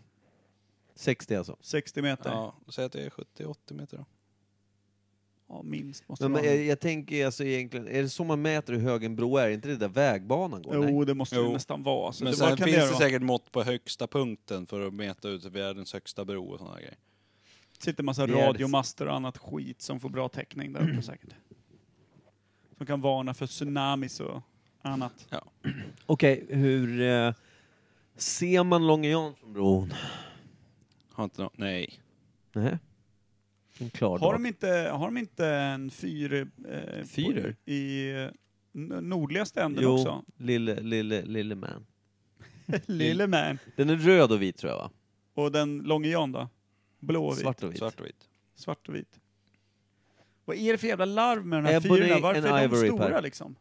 D: 60 alltså.
B: 60 meter. Ja,
C: Ja, säg att det är 70-80 meter då.
B: minst måste
D: Men,
B: det
D: men
B: vara.
D: jag, jag tänker alltså egentligen, är det så man mäter hur hög en bro är? Är inte det där vägbanan går? Nej.
B: Jo, det måste det
C: Jo.
B: nästan vara. Så
C: Men
B: det,
C: sen
B: vad kan
C: finns
B: det
C: det
B: vara?
C: säkert mått på högsta punkten för att mäta ut världens högsta bro och sådana grejer.
B: sitter en massa
D: Det är det.
B: radiomaster och annat skit som får bra täckning där uppe säkert. Som kan varna för tsunamis och annat.
D: Okej, hur eh, ser man Långe Janssonbron?
C: Har inte nå- Nej.
D: Nej. En klar
B: Har
D: dag.
B: de inte, har de inte en fyr, eh,
D: Fyrer?
B: på- i eh, n- nordligaste änden
D: Jo,
B: också?
D: lille, lille, lille man.
B: Lille man.
D: Den är röd och vit tror jag va?
B: Och den Långe Jan då? Blå och vit?
D: Svart och vit.
C: Svart och vit.
B: Svart och vit. Vad är det för jävla larv med de här
D: Ebony
B: fyrorna? Varför
D: and
B: är de
D: Ivory,
B: stora
D: Per.
B: liksom?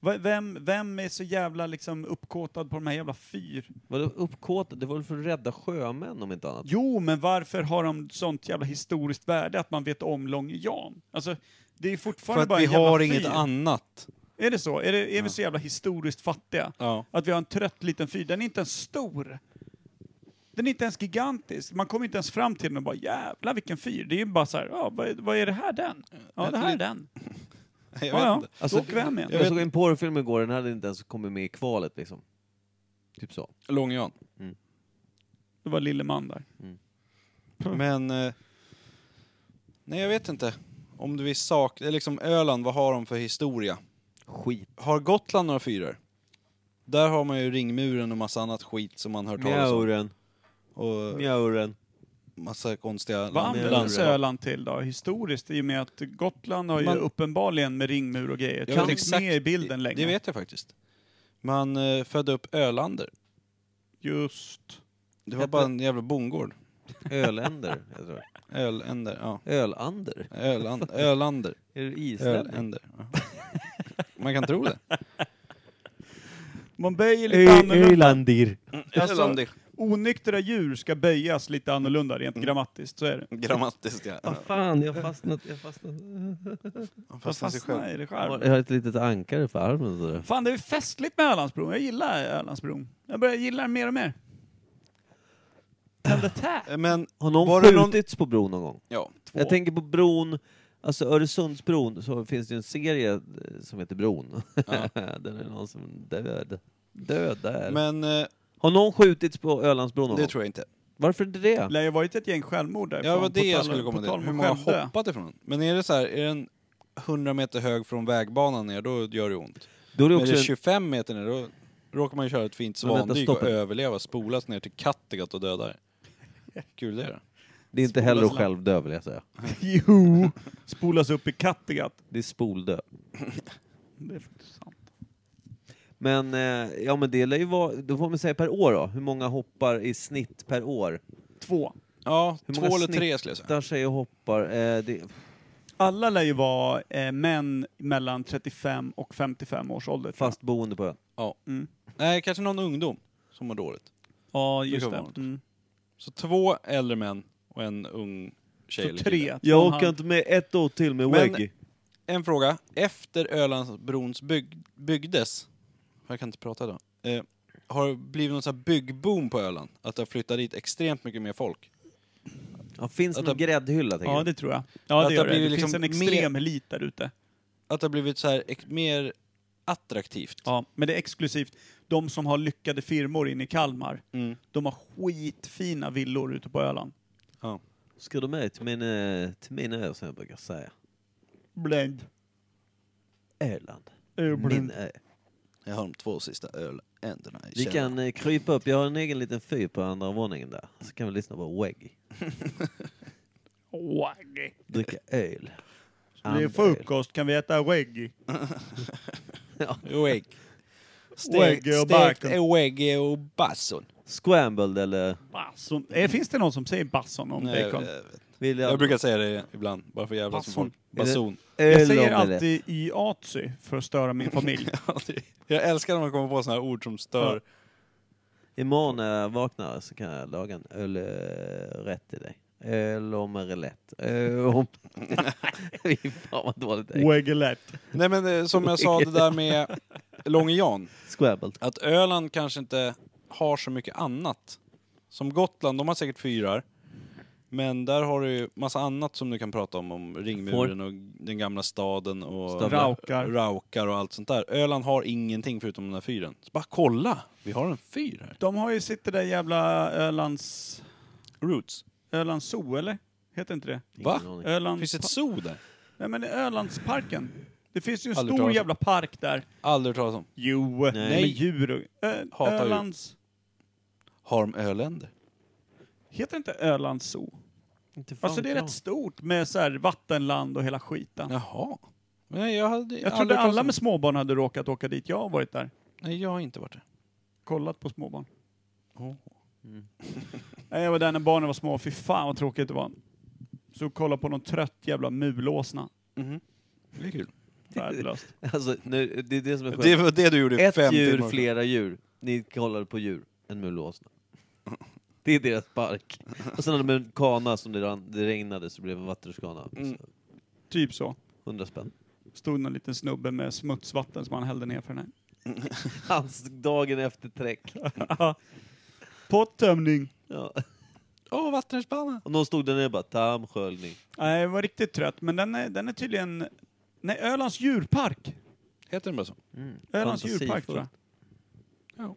B: Va- Vem, vem är så jävla liksom uppkåtad på de här jävla fyr?
D: Var det uppkåtat? Det var väl för att rädda sjömän om inte annat?
B: Jo, men varför har de sånt jävla historiskt värde att man vet om Långe Jan? Alltså, det är
C: För
B: fortfarande
C: att
B: bara
C: vi
B: en jävla
C: har
B: fyr.
C: inget annat.
B: Är det så? Är, det, är
C: Ja.
B: vi så jävla historiskt fattiga?
C: Ja.
B: Att vi har en trött liten fyr. Den är inte ens stor. Den är inte ens gigantisk. Man kommer inte ens fram till den och bara jävlar vilken fyr. Det är ju bara så här, ja, vad, är- vad är det här den? Ja, det här är den.
C: Jag vet
B: Ja,
C: inte.
B: ja. Alltså, Åk hem igen.
D: Jag, såg en porrfilm igår, den hade inte ens kommit med i kvalet liksom. Typ så.
C: Långe Jan.
B: Det var lille man där.
C: Men... Eh, nej, jag vet inte. Om du vill sak... eller Liksom Öland, vad har de för historia?
D: Skit.
C: Har Gotland några fyror? Där har man ju ringmuren och massa annat skit som man hört talas om.
D: Mjauren.
C: Och
D: Mjauren.
C: massa konstiga
B: Vad
C: land-
B: användes
C: landskap.
B: Öland till då, historiskt? I och med att Gotland har ju
C: Man-
B: uppenbarligen med ringmur och grejer
C: Jag vet
B: funnits
C: exakt-
B: med i bilden länge.
C: Det vet jag faktiskt. Man eh, födde upp Ölander.
B: Just.
C: Det var
D: Hette-
C: bara en jävla bondgård.
D: Öländer, jag tror.
C: Öländer, ja.
D: Ölander?
C: Öland, Ölander.
D: Är det islänning?
C: Öländer. Ja. Man kan tro det.
B: Man böjer lite annorlunda.
D: Ölandir.
B: Alltså-
C: Ölander.
B: Onyktra djur ska böjas lite annorlunda rent
C: Mm.
B: grammatiskt, så är det.
C: Grammatiskt, ja.
D: Vad fan, jag har fastnat. Jag, har fastnat.
C: Man
B: Jag
C: fastnar sig själv.
B: fastnade i det
D: jag
B: själv.
D: har ett litet ankare för armen. Sådär.
B: Fan, det är ju festligt med Ölandsbron. Jag gillar Ölandsbron. Jag börjar gilla den mer och mer. Tände tär.
C: Eh, Men,
D: Har någon
C: Var det någon-
D: skjutits på bron någon gång?
C: ja.
D: Jag tänker på bron, alltså Öresundsbron, så finns det ju en serie eh, som heter Bron.
C: Ja.
D: där är någon som död. Död där.
C: Men eh,
D: har Har någon skjutits på Ölandsbron någon
C: Det
D: gång?
C: tror jag inte.
D: Varför inte det?
B: Det lär ju ha varit ett gäng självmord därifrån.
C: Ja, det var det
B: på
C: jag
B: tal-
C: skulle komma
B: på tal om
C: till. Hur många har
B: Skövde.
C: hoppat ifrån den? Men är det så här, är den 100 meter hög från vägbanan ner, då gör det ont.
D: Då är det
C: Men är
D: också
C: det
D: en,
C: 25 meter ner, då råkar man ju köra ett fint
D: Men vänta,
C: svandyk
D: stopp
C: och
D: en-
C: överleva, spolas ner till Kattegatt och döda där. Kul det är.
D: det är inte heller att
B: Spolas
D: själv dö vill jag säga.
B: Jo! Spolas upp i Kattegatt.
D: Det är spoldö.
B: Det är faktiskt sant.
D: Men, eh, ja men det lär ju vara, då får man säga per år då, hur många hoppar i snitt per år?
B: Två.
C: Ja,
D: Hur många
C: två eller tre skulle jag säga.
D: Där sig och hoppar, eh, det,
B: Alla lär ju vara eh, män mellan 35 och 55 års ålder. tror jag.
D: fast boende på ön.
B: Mm.
C: Nej, kanske någon ungdom som mår dåligt.
B: Ja, just
C: kan
B: det.
C: vara något.
B: Mm.
C: Så två äldre män och en ung tjej
B: Så
C: eller
B: tre.
C: kille.
B: två och en
D: Jag
B: halv.
D: åker inte med ett år till med
C: Men-
D: Weggy.
C: En fråga. Efter Ölandsbrons bygg, byggdes, jag kan inte prata idag, eh, har det blivit någon sån här byggboom på Öland? Att det har flyttat dit extremt mycket mer folk?
D: Ja, finns det
C: att
D: någon
C: det-
D: gräddhylla tänker
B: Ja,
D: jag.
B: det tror jag. Ja, det
C: Att det
B: gör det.
C: blir
B: Det
C: liksom
B: finns en extrem elit där ute.
C: Att det har blivit så här ex- mer attraktivt?
B: Ja, men det är exklusivt. De som har lyckade firmor inne i Kalmar,
C: Mm.
B: de har skitfina villor ute på Öland.
C: Ja.
D: Ska du med till min, eh, till min ö som jag brukar säga?
B: Blend. eh,
D: Öland. Min
B: Öland.
D: ö.
C: Jag har de två sista öländerna i
D: Vi kan eh, krypa upp, jag har en egen liten fyr på andra våningen där. Så kan vi lyssna på Weggy.
B: Waggy.
D: Dricka öl.
B: Blir det
D: Andöl.
B: frukost kan vi äta waggy.
C: Ägg.
B: Ägg och
C: stekt
B: bacon.
C: ägg och basson.
D: Scrambled eller
B: Basson. Eh, finns det någon som säger basson om
C: Nej,
B: bacon?
C: jag vet.
D: William?
C: Jag brukar säga det ibland, bara för jävla som
B: Basson.
C: folk. Basson.
B: Jag
D: Öl
B: säger
D: omelett.
B: alltid iatsy för att störa min familj.
C: Ja, det- jag älskar när man kommer på såna här ord som stör.
D: Imorgon när jag vaknar så kan jag laga en ölrätt till dig. Öl om relett. Öl om... Fy fan vad dåligt det är.
B: Waggelett.
C: Nej men eh, som jag sa det där med Långe Jan.
D: Scrabbled.
C: Att Öland kanske inte har så mycket annat. Som Gotland, de har säkert fyrar. Men där har du ju massa annat som du kan prata om. Om ringmuren och den gamla staden och
D: Stövlar.
B: Raukar.
C: raukar och allt sånt där. Öland har ingenting förutom den här fyren. Så bara kolla! Vi har en fyr här.
B: De har ju sitt det där jävla Ölands...
C: Roots.
B: Ölands zoo, eller? Heter inte det?
D: Ingen
C: Va?
D: aning.
B: Ölands...
C: Finns det ett zoo där?
B: Nej men det är Ölandsparken. Det finns ju en
C: Aldrig
B: stor
C: talas om.
B: jävla park där.
C: Aldrig hört talas om.
B: Jo,
D: Nej.
B: med djur och... Ö,
C: Hatar djur.
B: Ölands...
C: Har de öländer?
B: Heter det inte Ölands zoo?
D: Inte fan
B: Alltså det är
D: vet jag.
B: rätt stort med så här vattenland och hela skiten.
C: Jaha. Nej, jag
B: Jag
C: hade aldrig
B: trodde
C: hört talas
B: alla
C: om-
B: med småbarn hade råkat åka dit. Jag har varit där.
C: Nej, jag har inte varit där.
B: Kollat på småbarn.
C: Åh.
B: Nej, Jag var där när barnen var små. Fy fan vad tråkigt det var. Så kolla på någon trött jävla mulåsna.
C: Mhm. Det är kul.
B: Värdelöst.
D: Alltså, nu, det är det som är
C: Det
D: skönt.
C: var det du gjorde i
D: Ett
C: Typ fem
D: djur,
C: timmar.
D: flera djur. Ni kollar på djur. En mulåsna. Det är deras park. Och sen hade de en kana som det, rann, det regnade så det blev en vattenrutschkana.
C: Mm.
B: Typ så.
D: Hundra spänn.
B: Stod någon liten snubbe med smutsvatten som han hällde ner för den
D: Hans dagen efter träck.
B: här. Pottömning.
D: Ja.
C: Åh, vattenrutschbana!
D: Och någon stod där nere och bara tarmsköljning.
B: Nej, jag var riktigt trött. Men den är, den är tydligen... Nej, Ölands djurpark.
C: Heter den bara så?
D: Mm.
B: Ölands djurpark tror jag.
C: Ja.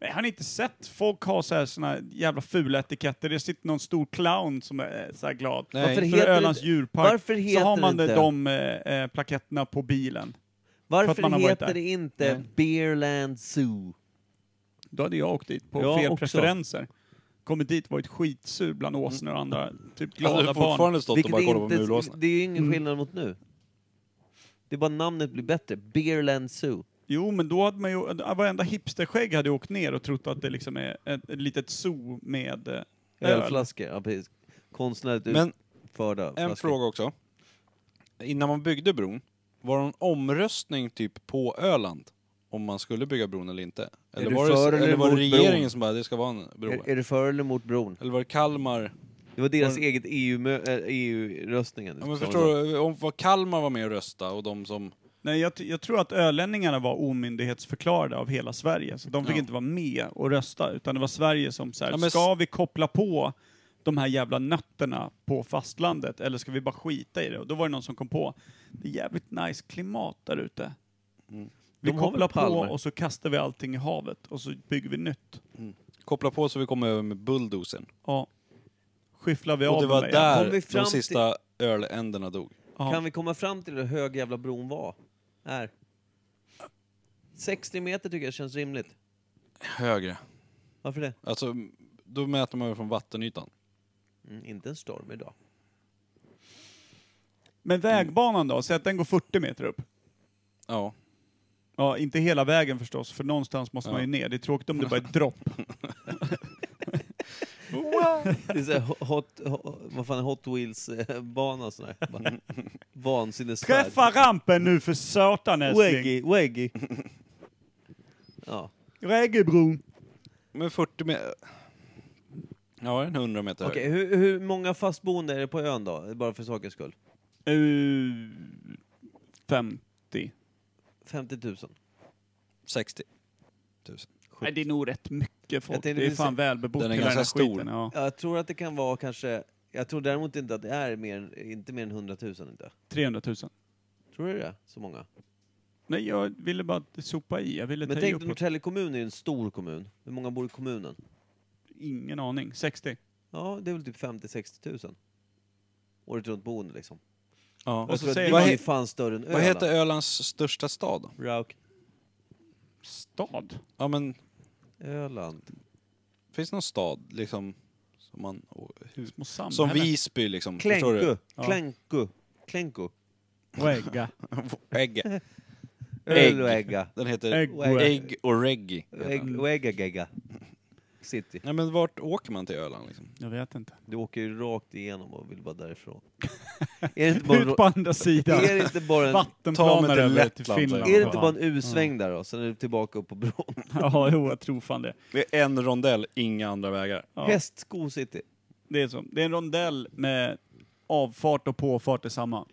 B: Nej, har ni inte sett? Folk har så här, såna här jävla fula etiketter. Det sitter någon stor clown som är så här glad.
C: Nej.
D: Varför
B: För
D: heter
B: Ölands
D: det,
B: djurpark.
D: varför heter
B: så har man
D: det
B: de,
D: inte,
B: de eh, eh, plaketterna på bilen.
D: varför
B: man har varit
D: heter
B: där. Mm.
D: det inte
C: Nej.
D: Beerland Zoo?
B: Då hade jag åkt dit på
D: Jag
B: fel
D: också. Mm.
B: preferenser. Kommit dit varit skitsur bland åsnor och andra
D: Alltså,
B: typ
C: Hade
B: glada
C: du
B: barn.
C: fortfarande stått och bara kollat på
D: inte-
C: mulåsna?
D: det är ju
B: Mm.
D: ingen skillnad mot nu. Det är bara namnet blir bättre. Beerland Zoo.
B: Jo, men då hade man ju, varenda hipsterskägg hade ju åkt ner och trott att det liksom är ett, ett litet zoo med eh, öl.
D: Ölflaskor, ja precis. Konstnärligt
C: Men
D: utförda
C: en
D: flaskor.
C: fråga också. Innan man byggde bron, var det en omröstning typ på Öland? Om man skulle bygga bron eller inte? Eller
D: du
C: var det,
D: för
C: eller
D: eller
C: var det
D: emot
C: regeringen
D: bron?
C: som bara, det ska vara en bro?
D: Är, är det för eller mot bron?
C: Eller var det Kalmar?
D: Det var deras
C: Var-
D: eget EU-mö- äh, EU-röstningen.
C: Ja, men förstår du, om vad Kalmar var med och rösta och de som...
B: Nej, jag, t- jag tror att ölänningarna var omyndighetsförklarade av hela Sverige, så de fick
C: Ja.
B: inte vara med och rösta, utan det var Sverige som så här,
C: Ja, men s-
B: ska vi koppla på de här jävla nötterna på fastlandet, eller ska vi bara skita i det? Och då var det någon som kom på, det är jävligt nice klimat där ute.
C: Mm.
B: Vi
D: De har väl
B: kopplar på
D: palmer?
B: och så kastar vi allting i havet och så bygger vi nytt.
C: Koppla på så vi kommer över med bulldozern. Ja.
B: Ja. Skyfflar vi av
C: Och det
B: de
C: var
B: där
C: där
D: Kom vi fram
C: de sista öländerna dog.
B: Ja.
D: Kan vi komma fram till hur hög jävla bron var? Här. 60 meter tycker jag känns rimligt.
C: Högre.
D: Varför det?
C: Alltså, då mäter man ju från vattenytan.
D: Mm, inte en storm idag.
B: Men vägbanan då? Säg att den går 40 meter upp.
C: Ja.
B: Ja, inte hela vägen förstås, för någonstans måste man ju ner. Det är tråkigt om det bara är ett dropp.
D: Det är så här ho- hot, ho, vad fan är Hot Wheels-bana och sådär. Bara Vansinnesfärd.
B: Träffa rampen nu för satan älskling!
D: Weggy, weggy. Ja.
B: Regelbron!
C: Men 40 meter... Ja, en 100 meter hög.
D: Okej, hur, hur många fastboende är det på ön då? Bara för sakens skull.
B: Uh, 50.
D: 50 000.
C: 60 000.
B: Nej, det är nog rätt mycket folk.
D: Jag tänkte
B: Det är
D: precis-
B: fan välbebott
C: Den är
B: hela den här
C: ganska stor.
B: skiten. Ja.
D: Jag tror att det kan vara kanske... Jag tror däremot inte att det är mer, inte mer än 100 000 inte.
B: 300 000.
D: Tror du det? Så många?
B: Nej, jag ville bara sopa i. Jag ville
D: Men
B: ta
D: tänk
B: i
D: dig,
B: uppåt.
D: Norrtälje kommun är ju en stor kommun. Hur många bor i kommunen?
B: Ingen aning. 60.
D: Ja, det är väl typ 50-60 000. Året runt boende liksom.
C: Ja.
B: Och
D: Jag
B: så
D: tror att
B: säger
D: det
C: man-
D: är fan större än Öland.
C: Vad heter Ölands största stad då?
D: Rauk.
B: Stad?
C: Ja, men
D: Öland.
C: finns det någon stad liksom som man... och hur-
B: Små samhällen?
C: Som Visby liksom. Förstår
D: Klänku.
C: du?
B: Ja.
D: Klänku. Klänku.
B: Wegga.
C: Ägg. Ägg.
D: Ölvägga.
C: Den heter
B: Ägg.
C: Ägg och Reggae. heter den.
D: Väggagegga. City.
C: Nej men vart åker man till Öland liksom?
B: Jag vet inte.
D: Du åker ju rakt igenom och vill bara därifrån. är det inte bara, en
B: Ut på
D: rå-
B: andra sidan.
D: är det inte bara en,
C: Ta
B: Vattenplaner
C: mig till
B: över till
C: Lettland,
B: Finland.
D: är det
B: för
D: inte
B: fan.
D: bara en U-sväng där då? Sen är du tillbaka upp på bron.
B: Ja, jo, jag tror fan det.
C: Det är en rondell, inga andra vägar.
B: Ja.
D: Hästsko city.
B: Det är så. Det är en rondell med avfart och påfart är samma.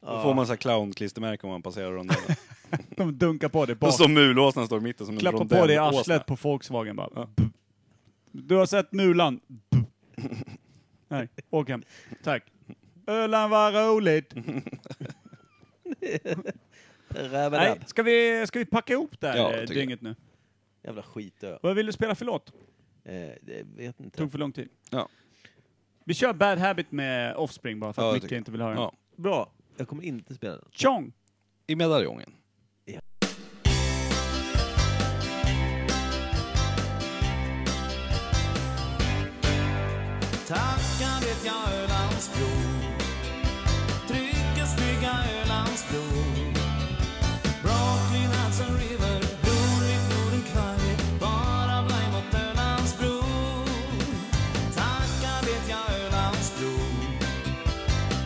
C: Då får man så här clownklistermärken om man passerar rondellen.
B: De dunkar på det
C: Och
B: bak.
C: så mulåsnan står i mitten som en
B: Klappar
C: rondell.
B: på det i arslet på Volkswagen bara. Bup. Du har sett Mulan? Bup. Nej, åk hem. Tack. Öland var roligt. Nej,
D: Rabadab.
B: ska vi, ska vi packa ihop det här
C: Ja,
B: eh,
C: tycker
B: dynget nu?
D: Jävla skitö.
B: Vad vill du spela för låt?
D: Eh, det vet inte.
B: Tog för lång tid.
C: Ja.
B: Vi kör Bad Habit med Offspring bara för
C: Ja,
B: att
C: jag
B: Micke
C: tycker-
B: inte vill höra den.
C: Ja.
D: Bra. Jag kommer inte spela den.
B: Tjong!
C: I medaljongen.
A: Tackar vet jag Ölandsbro Trygga snygga Ölandsbro Brooklyn as a river Bron vid floden Kvarje Bara blaj mot Ölandsbro Tackar vet jag Ölandsbro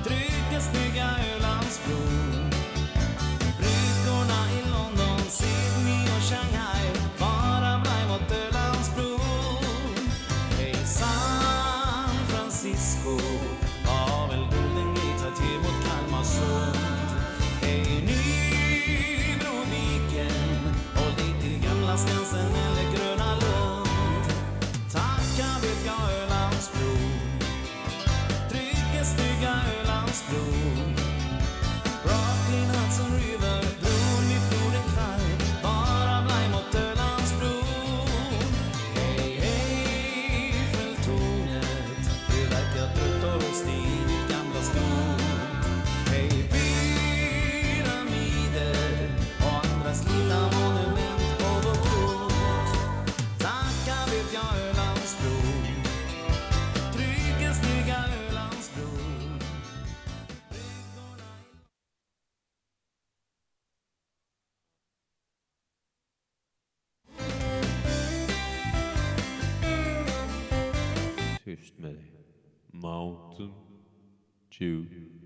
A: Trygga snygga Ölandsbro Bryggorna i London, Sydney och Shanghai Bara blaj mot Ölandsbro Hej San Francisco var väl Golden Gate att ge mot Kalmarsund. Hej Nybroviken, håll dig till gamla Skansen eller Gröna Lund. Tacka vet jag Ölandsbro, trygga snygga Ölandsbro. Brooklyn, Hudson River, bron vid floden Kwai, bara blaj mot Ölandsbron. Hej, hej, Eiffeltornet Det verkar trött och rostigt, gamla skor Hej, pyramider och andra slitna monument på vår jord Tacka vet jag Ölandsbro Trygga, snygga Ölandsbro
E: Tyst med dig. Mountain Dew